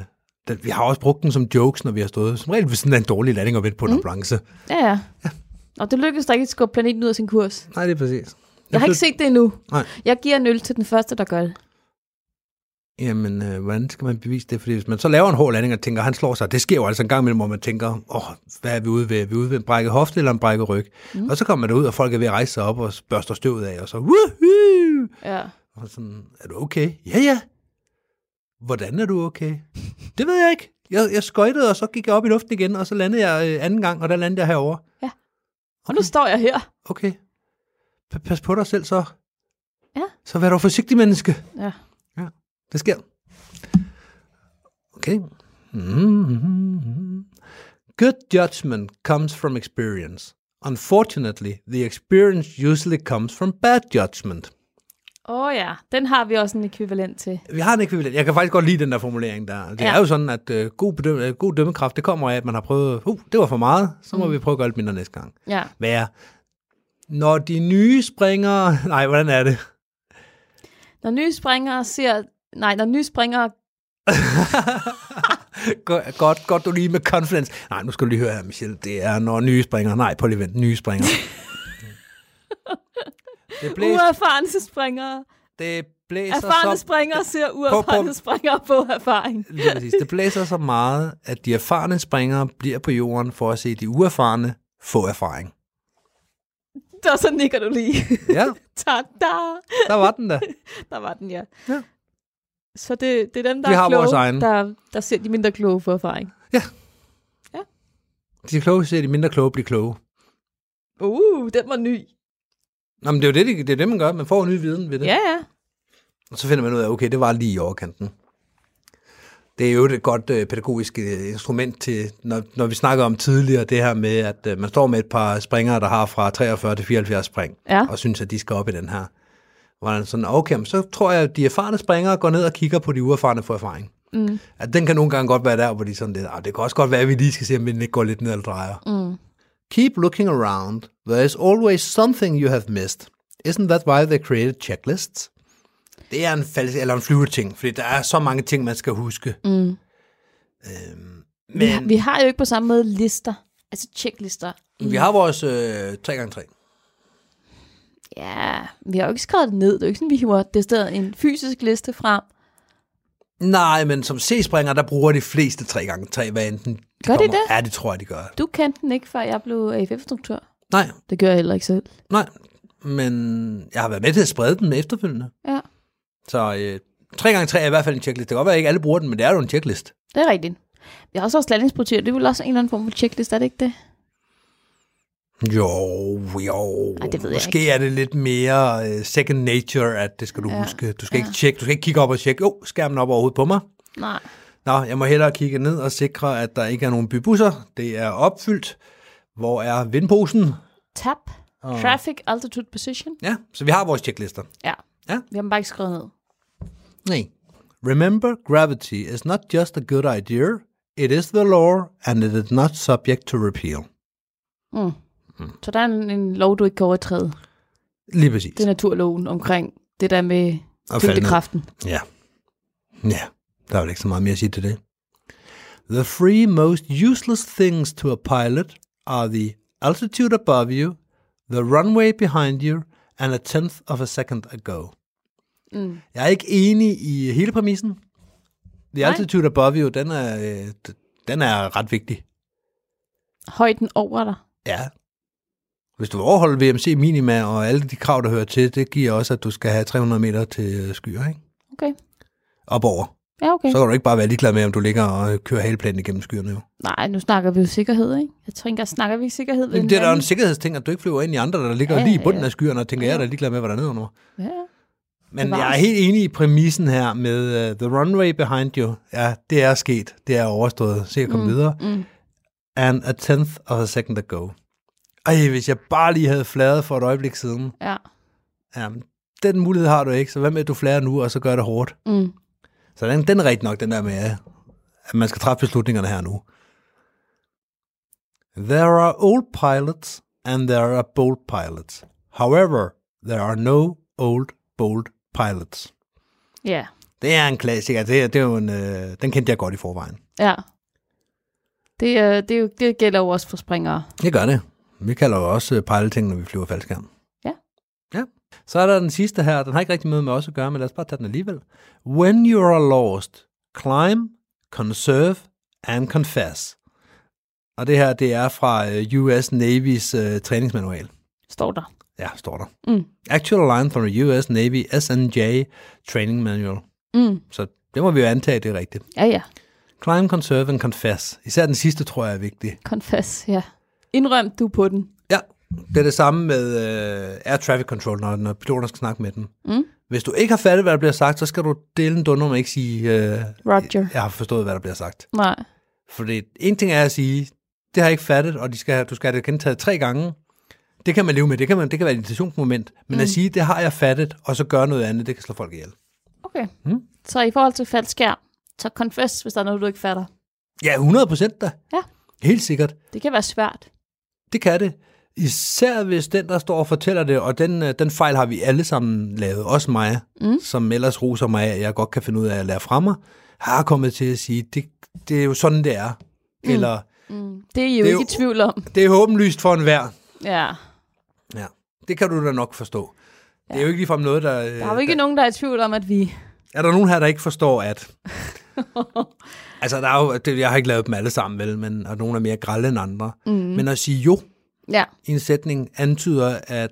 [SPEAKER 3] den, vi har også brugt den som jokes, når vi har stået som regel ved sådan en dårlig landing og vendt på en ambulance.
[SPEAKER 4] Ja, ja. Og det lykkedes der ikke at skubbe planeten ud af sin kurs.
[SPEAKER 3] Nej, det er præcis.
[SPEAKER 4] Jeg har ikke set det endnu.
[SPEAKER 3] Nej.
[SPEAKER 4] Jeg giver en øl til den første, der gør det.
[SPEAKER 3] Jamen, øh, hvordan skal man bevise det? Fordi hvis man så laver en hård landing og tænker, han slår sig, det sker jo altså en gang imellem, hvor man tænker, åh, oh, hvad er vi ude ved? Er vi ude ved en brækket hofte eller en brækket ryg? Mm. Og så kommer man ud, og folk er ved at rejse sig op og børster støvet af, og
[SPEAKER 4] Mm.
[SPEAKER 3] så, woohoo!
[SPEAKER 4] Ja.
[SPEAKER 3] Og sådan, er du okay? Ja, ja. Hvordan er du okay? Det ved jeg ikke. Jeg, jeg skøjtede, og så gik jeg op i luften igen, og så landede jeg øh, anden gang, og der landede jeg herover.
[SPEAKER 4] Ja. Og nu står jeg her.
[SPEAKER 3] Okay. Pa- pas på dig selv så.
[SPEAKER 4] Ja.
[SPEAKER 3] Så vær dog forsigtig, menneske.
[SPEAKER 4] Ja.
[SPEAKER 3] Ja, det sker. Okay. Mhm. Good judgment comes from experience. Unfortunately, the experience usually comes from bad judgment.
[SPEAKER 4] Åh oh, ja, den har vi også en ekvivalent til.
[SPEAKER 3] Vi har en ekvivalent. Jeg kan faktisk godt lide den der formulering der. Det
[SPEAKER 4] Ja.
[SPEAKER 3] ja. er jo sådan, at øh, god, bedøm- øh, god dømmekraft, det kommer af, at man har prøvet, uh, det var for meget, så må mm. vi prøve at gøre lidt mindre næste gang.
[SPEAKER 4] Ja.
[SPEAKER 3] Være, når de nye springer... *laughs* Nej, hvordan er det?
[SPEAKER 4] Når nye springere ser... Nej, når nye springere...
[SPEAKER 3] Go- godt, godt, du lige med confidence. Nej, nu skal du lige høre her, Michelle. Det er, når nye springer... Nej, på lige vent, nye
[SPEAKER 4] *laughs*
[SPEAKER 3] springer. det blæser,
[SPEAKER 4] Uerfarne springere.
[SPEAKER 3] det blæser
[SPEAKER 4] Erfarne
[SPEAKER 3] så...
[SPEAKER 4] springere ser uerfarne springere på erfaring.
[SPEAKER 3] Lige præcis. Det blæser så meget, at de erfarne springere bliver på jorden for at se de uerfarne få erfaring.
[SPEAKER 4] *laughs* Der så nikker du lige.
[SPEAKER 3] Ja,
[SPEAKER 4] Ta-da!
[SPEAKER 3] der var den da.
[SPEAKER 4] Der var den, ja.
[SPEAKER 3] Ja.
[SPEAKER 4] Så det, det er dem, der
[SPEAKER 3] Vi
[SPEAKER 4] er
[SPEAKER 3] har
[SPEAKER 4] kloge,
[SPEAKER 3] vores egne.
[SPEAKER 4] Der, der ser de mindre kloge for erfaring.
[SPEAKER 3] De kloge ser de mindre kloge blive kloge.
[SPEAKER 4] Uh, den var ny.
[SPEAKER 3] Nå, men det er jo det, det, det, er det man gør. Man får ny viden ved det.
[SPEAKER 4] Ja, ja.
[SPEAKER 3] Og så finder man ud af, okay, det var lige i overkanten. Det er jo et godt øh, pædagogisk øh, instrument til, når, når vi snakker om tidligere, det her med, at øh, man står med et par springere, der har fra 43 til 74 spring,
[SPEAKER 4] Ja.
[SPEAKER 3] og synes, at de skal op i den her. Hvor han sådan, okay, men så tror jeg, at de erfarne springere går ned og kigger på de uerfarne for erfaring.
[SPEAKER 4] Mm.
[SPEAKER 3] At den kan nogle gange godt være der, hvor de sådan lidt, "Ah, det kan også godt være, at vi lige skal se, om vinden ikke går lidt ned eller drejer.
[SPEAKER 4] Mm.
[SPEAKER 3] Keep looking around. There is always something you have missed. Isn't that why they created checklists? Det er en falsk eller en flyveting, fordi der er så mange ting, man skal huske.
[SPEAKER 4] Mm.
[SPEAKER 3] Øhm,
[SPEAKER 4] Vi, har,
[SPEAKER 3] men
[SPEAKER 4] vi har jo ikke på samme måde lister. Altså checklister.
[SPEAKER 3] vi har vores øh, 3x3.
[SPEAKER 4] Ja, vi har jo ikke skrevet det ned. Det er jo ikke sådan, vi hiver det sted en fysisk liste frem.
[SPEAKER 3] Nej, men som C-springer, der bruger de fleste 3x3, hvad enten de
[SPEAKER 4] Gør de
[SPEAKER 3] kommer.
[SPEAKER 4] det?
[SPEAKER 3] Ja, det tror jeg, de gør.
[SPEAKER 4] Du kendte den ikke, før jeg blev AFF-instruktør.
[SPEAKER 3] Nej,
[SPEAKER 4] Det gør jeg heller ikke selv.
[SPEAKER 3] nej. Men jeg har været med til at sprede den efterfølgende.
[SPEAKER 4] Ja,
[SPEAKER 3] Så øh, 3x3 er i hvert fald en checklist. Det kan godt være, at ikke alle bruger den, men det er jo en checklist.
[SPEAKER 4] det er rigtigt. Vi har også vores landingsprotier. Det er vel også en eller anden form for checklist, er det ikke det?
[SPEAKER 3] Jo, jo.
[SPEAKER 4] Ej, det ved jeg
[SPEAKER 3] Måske er det lidt mere uh, second nature, at det skal du
[SPEAKER 4] Ja,
[SPEAKER 3] ja. huske. Du skal
[SPEAKER 4] ja.
[SPEAKER 3] ikke tjekke, du skal ikke kigge op og tjekke, jo, skærmen op overhovedet på mig.
[SPEAKER 4] Nej.
[SPEAKER 3] Nå, jeg må hellere kigge ned og sikre, at der ikke er nogen bybusser. Det er opfyldt. Hvor er vindposen?
[SPEAKER 4] Tab. Oh. Traffic altitude position.
[SPEAKER 3] Ja, så vi har vores checklister.
[SPEAKER 4] Ja.
[SPEAKER 3] Ja.
[SPEAKER 4] Vi har dem bare ikke skrevet ned.
[SPEAKER 3] Nej. Remember, gravity is not just a good idea. It is the law, and it is not subject to repeal.
[SPEAKER 4] Mm. Så der er en, en lov, du ikke kan overtræde.
[SPEAKER 3] Lige præcis.
[SPEAKER 4] Det er naturloven omkring det der med
[SPEAKER 3] Og falde ned.
[SPEAKER 4] tyngdekraften.
[SPEAKER 3] Ja. Ja, der er vel ikke så meget mere at sige til det. The three most useless things to a pilot are the altitude above you, the runway behind you, and a tenth of a second ago.
[SPEAKER 4] Mm.
[SPEAKER 3] Jeg er ikke enig i hele præmissen. The
[SPEAKER 4] Nej.
[SPEAKER 3] altitude above you, den er, øh, d- den er ret vigtig.
[SPEAKER 4] Højden over dig.
[SPEAKER 3] Ja. Hvis du overholder VMC minima og alle de krav, der hører til, det giver også, at du skal have 300 meter til øh, skyer, ikke?
[SPEAKER 4] Okay.
[SPEAKER 3] Op over.
[SPEAKER 4] Ja, okay.
[SPEAKER 3] Så kan du ikke bare være ligeglad med, om du ligger og kører haleplanen igennem skyerne. Jo.
[SPEAKER 4] Nej, nu snakker vi jo sikkerhed, ikke? Jeg tænker, snakker vi sikkerhed ved
[SPEAKER 3] Jamen, det er da en
[SPEAKER 4] anden-
[SPEAKER 3] sikkerhedsting, at du ikke flyver ind i andre, der ligger
[SPEAKER 4] Ja,
[SPEAKER 3] ja, lige
[SPEAKER 4] ja,
[SPEAKER 3] i bunden
[SPEAKER 4] ja.
[SPEAKER 3] af skyerne, og tænker,
[SPEAKER 4] Ja.
[SPEAKER 3] jeg er da ligeglad med, hvad der er nedenunder.
[SPEAKER 4] Ja, ja.
[SPEAKER 3] Men
[SPEAKER 4] Bevares.
[SPEAKER 3] jeg er helt enig i præmissen her med uh, The Runway Behind You. Ja, det er sket. Det er overstået. Se at komme mm. videre.
[SPEAKER 4] mm.
[SPEAKER 3] And a tenth of a second ago. Ej, hvis jeg bare lige havde fladet for et øjeblik siden.
[SPEAKER 4] ja.
[SPEAKER 3] Ja, men den mulighed har du ikke, så hvad med, at du flader nu, og så gør det hårdt?
[SPEAKER 4] Mm.
[SPEAKER 3] Så den, den er rigtig nok, den der med, at man skal træffe beslutningerne her nu. There are old pilots, and there are bold pilots. However, there are no old, bold pilots.
[SPEAKER 4] Ja.
[SPEAKER 3] Det er en klassiker. Det, er- det er jo en, øh, den kendte jeg godt i forvejen.
[SPEAKER 4] Ja. Det, øh, det, er jo, det gælder jo også for springere.
[SPEAKER 3] Det gør det. Vi kalder jo også øh, pejleting, når vi flyver faldskærm.
[SPEAKER 4] Ja.
[SPEAKER 3] Ja. Så er der den sidste her. Den har ikke rigtig noget med os at gøre, men lad os bare tage den alligevel. When you are lost, climb, conserve and confess. Og det her, det er fra øh, US Navy's øh, træningsmanual.
[SPEAKER 4] Står der.
[SPEAKER 3] Ja, står der.
[SPEAKER 4] Mm.
[SPEAKER 3] Actual line from the US Navy SNJ Training Manual.
[SPEAKER 4] Mm.
[SPEAKER 3] Så det må vi jo antage, det er rigtigt.
[SPEAKER 4] Ja, ja.
[SPEAKER 3] Climb, conserve and confess. Især den sidste, tror jeg, er vigtig.
[SPEAKER 4] Confess, ja. Indrøm du på den.
[SPEAKER 3] Ja, det er det samme med øh, air traffic control, når, når piloterne skal snakke med dem.
[SPEAKER 4] Mm.
[SPEAKER 3] Hvis du ikke har fattet, hvad der bliver sagt, så skal du dele en dunder med ikke sige, øh,
[SPEAKER 4] Roger.
[SPEAKER 3] jeg har forstået, hvad der bliver sagt.
[SPEAKER 4] Nej.
[SPEAKER 3] For det, en ting er at sige, det har jeg ikke fattet, og de skal, du skal have det gentaget tre gange. Det kan man leve med, det kan, man, det kan være et irritationsmoment. Men mm. at sige, det har jeg fattet, og så gøre noget andet, det kan slå folk ihjel.
[SPEAKER 4] Okay.
[SPEAKER 3] Mm.
[SPEAKER 4] Så i forhold til falsk skærm, så confess, hvis der er noget, du ikke fatter.
[SPEAKER 3] Ja, 100 procent da.
[SPEAKER 4] Ja.
[SPEAKER 3] Helt sikkert.
[SPEAKER 4] Det kan være svært.
[SPEAKER 3] Det kan det. Især hvis den, der står og fortæller det, og den, øh, den fejl har vi alle sammen lavet, også mig, mm. som ellers roser mig, at jeg godt kan finde ud af at lære fra mig, har kommet til at sige, det, det er jo sådan, det er. Mm. Eller,
[SPEAKER 4] Det er I
[SPEAKER 3] Det
[SPEAKER 4] jo
[SPEAKER 3] er
[SPEAKER 4] ikke
[SPEAKER 3] jo-
[SPEAKER 4] i tvivl om.
[SPEAKER 3] det er åbenlyst for enhver.
[SPEAKER 4] Ja.
[SPEAKER 3] Ja, det kan du da nok forstå. Ja. Det er jo ikke ligefrem noget, der...
[SPEAKER 4] Der er jo ikke nogen, der er i tvivl om, at vi...
[SPEAKER 3] Er der nogen her, der ikke forstår, *laughs* at... altså, der er jo, det, jeg har ikke lavet dem alle sammen, vel, men, og nogle er mere grælde end andre. Mm. Men at sige jo
[SPEAKER 4] Ja.
[SPEAKER 3] i en sætning antyder, at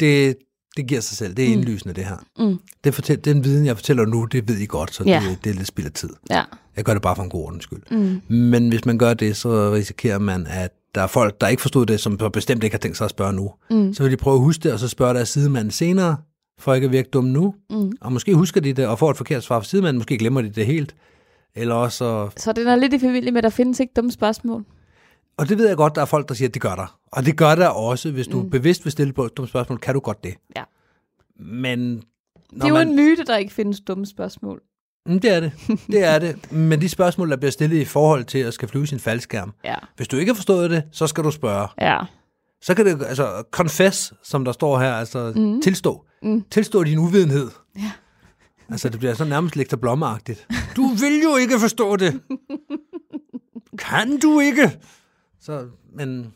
[SPEAKER 3] det, det giver sig selv. Det er indlysende, det her.
[SPEAKER 4] Mm.
[SPEAKER 3] Det fortæl, den viden, jeg fortæller nu, det ved I godt, så
[SPEAKER 4] Ja.
[SPEAKER 3] ja. det, det er lidt spild af tid.
[SPEAKER 4] Ja.
[SPEAKER 3] Jeg gør det bare for en god ordens skyld. Mm. Men hvis man gør det, så risikerer man, at der er folk, der ikke forstod det, som så bestemt ikke har tænkt sig at spørge nu. Mm. Så vil de prøve at huske det, og så spørge deres sidemand senere, for ikke at virke dum nu. Mm. Og måske husker de det, og får et forkert svar fra sidemanden, måske glemmer de det helt. Eller også, så-
[SPEAKER 4] Så den er lidt i familie med, at der findes ikke dumme spørgsmål.
[SPEAKER 3] og det ved jeg godt, der er folk, der siger, at det gør der. Og det gør der også, hvis du mm. bevidst vil stille på dumme spørgsmål, kan du godt det.
[SPEAKER 4] Ja.
[SPEAKER 3] Men
[SPEAKER 4] Det er jo en myte, der ikke findes dumme spørgsmål.
[SPEAKER 3] Mm, det er
[SPEAKER 4] *laughs*
[SPEAKER 3] det. Det er det. Men de spørgsmål, der bliver stillet i forhold til at skal flyve sin faldskærm.
[SPEAKER 4] Ja.
[SPEAKER 3] Hvis du ikke har forstået det, så skal du spørge.
[SPEAKER 4] Ja.
[SPEAKER 3] Så kan det, altså, confess, som der står her, altså mm. tilstå. Mm. Tilstå din uvidenhed. Ja. Altså, det bliver så nærmest lektor *laughs* blommeagtigt. Du vil jo ikke forstå det. kan du ikke? Så, men,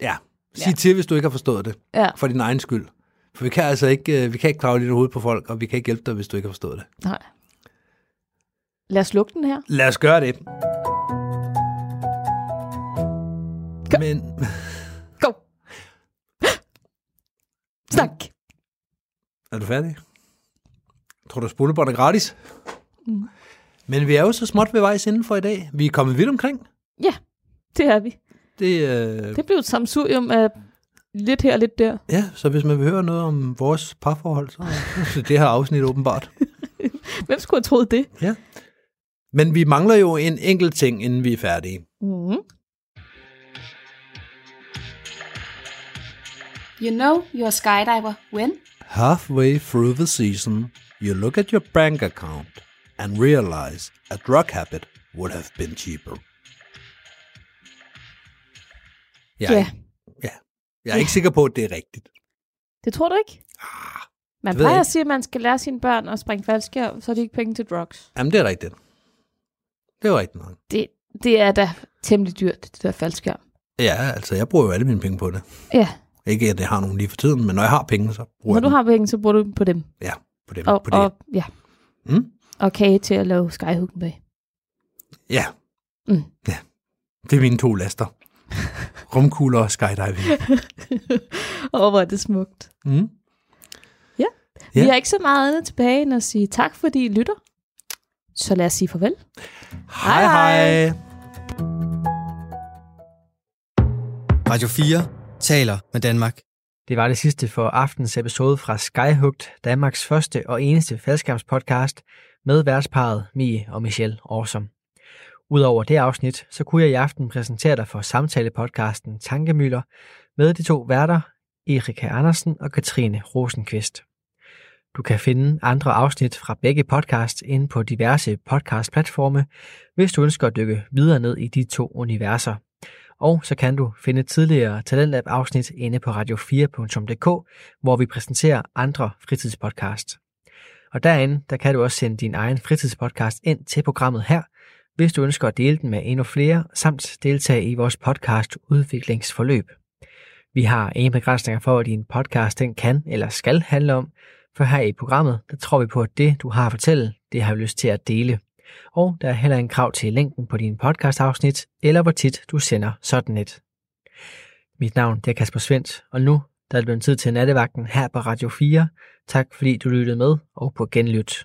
[SPEAKER 3] ja. Sig
[SPEAKER 4] Ja.
[SPEAKER 3] ja. til, hvis du ikke har forstået det.
[SPEAKER 4] Ja.
[SPEAKER 3] For din egen skyld. For vi kan altså ikke, øh, vi kan ikke kravle lidt hovedet på folk, og vi kan ikke hjælpe dig, hvis du ikke har forstået det.
[SPEAKER 4] Nej. Lad os lukke den her.
[SPEAKER 3] Lad os gøre det. Men,
[SPEAKER 4] Go. *gasps* Snak.
[SPEAKER 3] er du færdig? Tror du, spolebånd er gratis? Mm. Men vi er jo så småt ved vejs inden for i dag. Vi er kommet vidt omkring.
[SPEAKER 4] Ja, det er vi.
[SPEAKER 3] Det, øh, det.
[SPEAKER 4] Det blev et samsurium af lidt her og lidt der.
[SPEAKER 3] Ja, så hvis man vil høre noget om vores parforhold, så så er det her afsnit åbenbart.
[SPEAKER 4] Hvem skulle have troet det?
[SPEAKER 3] Ja. Men vi mangler jo en enkelt ting, inden vi er færdige.
[SPEAKER 4] Mm-hmm.
[SPEAKER 5] You know you're a skydiver when?
[SPEAKER 3] Halfway through the season, you look at your bank account and realize a drug habit would have been cheaper. Jeg,
[SPEAKER 4] Ja.
[SPEAKER 3] ja. Jeg er ikke sikker på, at det er rigtigt.
[SPEAKER 4] Det tror du ikke? Man
[SPEAKER 3] Ah, det ved jeg
[SPEAKER 4] plejer at
[SPEAKER 3] ikke.
[SPEAKER 4] sige, at man skal lære sine børn at springe faldskærm, så er de ikke penge til drugs.
[SPEAKER 3] Jamen, det er rigtigt. Det er jo rigtigt nok.
[SPEAKER 4] Det, det er da temmelig dyrt, det der faldskærm.
[SPEAKER 3] Ja, altså, jeg bruger jo alle mine penge på det.
[SPEAKER 4] Ja,
[SPEAKER 3] Ikke, at jeg har nogen lige for tiden, men når jeg har penge, så bruger
[SPEAKER 4] når
[SPEAKER 3] jeg
[SPEAKER 4] du
[SPEAKER 3] dem.
[SPEAKER 4] har penge, så bruger du dem på dem.
[SPEAKER 3] Ja, på det.
[SPEAKER 4] Og,
[SPEAKER 3] på det.
[SPEAKER 4] og, ja.
[SPEAKER 3] Mm.
[SPEAKER 4] og kage til at lave skyhooken med.
[SPEAKER 3] Ja.
[SPEAKER 4] Mm.
[SPEAKER 3] ja. Det er mine to
[SPEAKER 4] *laughs*
[SPEAKER 3] laster. Rumkugler og skydiving.
[SPEAKER 4] *laughs* Åh, hvor er det smukt.
[SPEAKER 3] Mm.
[SPEAKER 4] Ja.
[SPEAKER 3] Ja.
[SPEAKER 4] Vi har ikke så meget andet tilbage end at sige tak, fordi I lytter. Så lad os sige farvel.
[SPEAKER 3] Hej
[SPEAKER 4] hej.
[SPEAKER 3] hej.
[SPEAKER 1] Radio 4 taler med Danmark.
[SPEAKER 2] Det var det sidste for aftens episode fra Skyhugt, Danmarks første og eneste faldskærmspodcast med værtsparet Mie og Michelle Awesome. Udover det afsnit, så kunne jeg i aften præsentere dig for samtalepodcasten Tankemøller med de to værter, Erika Andersen og Katrine Rosenqvist. Du kan finde andre afsnit fra begge podcasts inde på diverse podcastplatforme, hvis du ønsker at dykke videre ned i de to universer. Og så kan du finde tidligere Talentlab-afsnit inde på radio4.dk, hvor vi præsenterer andre fritidspodcasts. Og derinde, der kan du også sende din egen fritidspodcast ind til programmet her, hvis du ønsker at dele den med endnu flere, samt deltage i vores podcast Udviklingsforløb. Vi har ingen begrænsninger for, hvad din podcast den kan eller skal handle om, for her i programmet, der tror vi på, at det, du har at fortælle, det har vi lyst til at dele. Og der er heller en krav til længden på din podcastafsnit, eller hvor tit du sender sådan et. Mit navn det er Kasper Svendt, og nu der er det blevet tid til nattevagten her på Radio 4. Tak fordi du lyttede med, og på genlyt.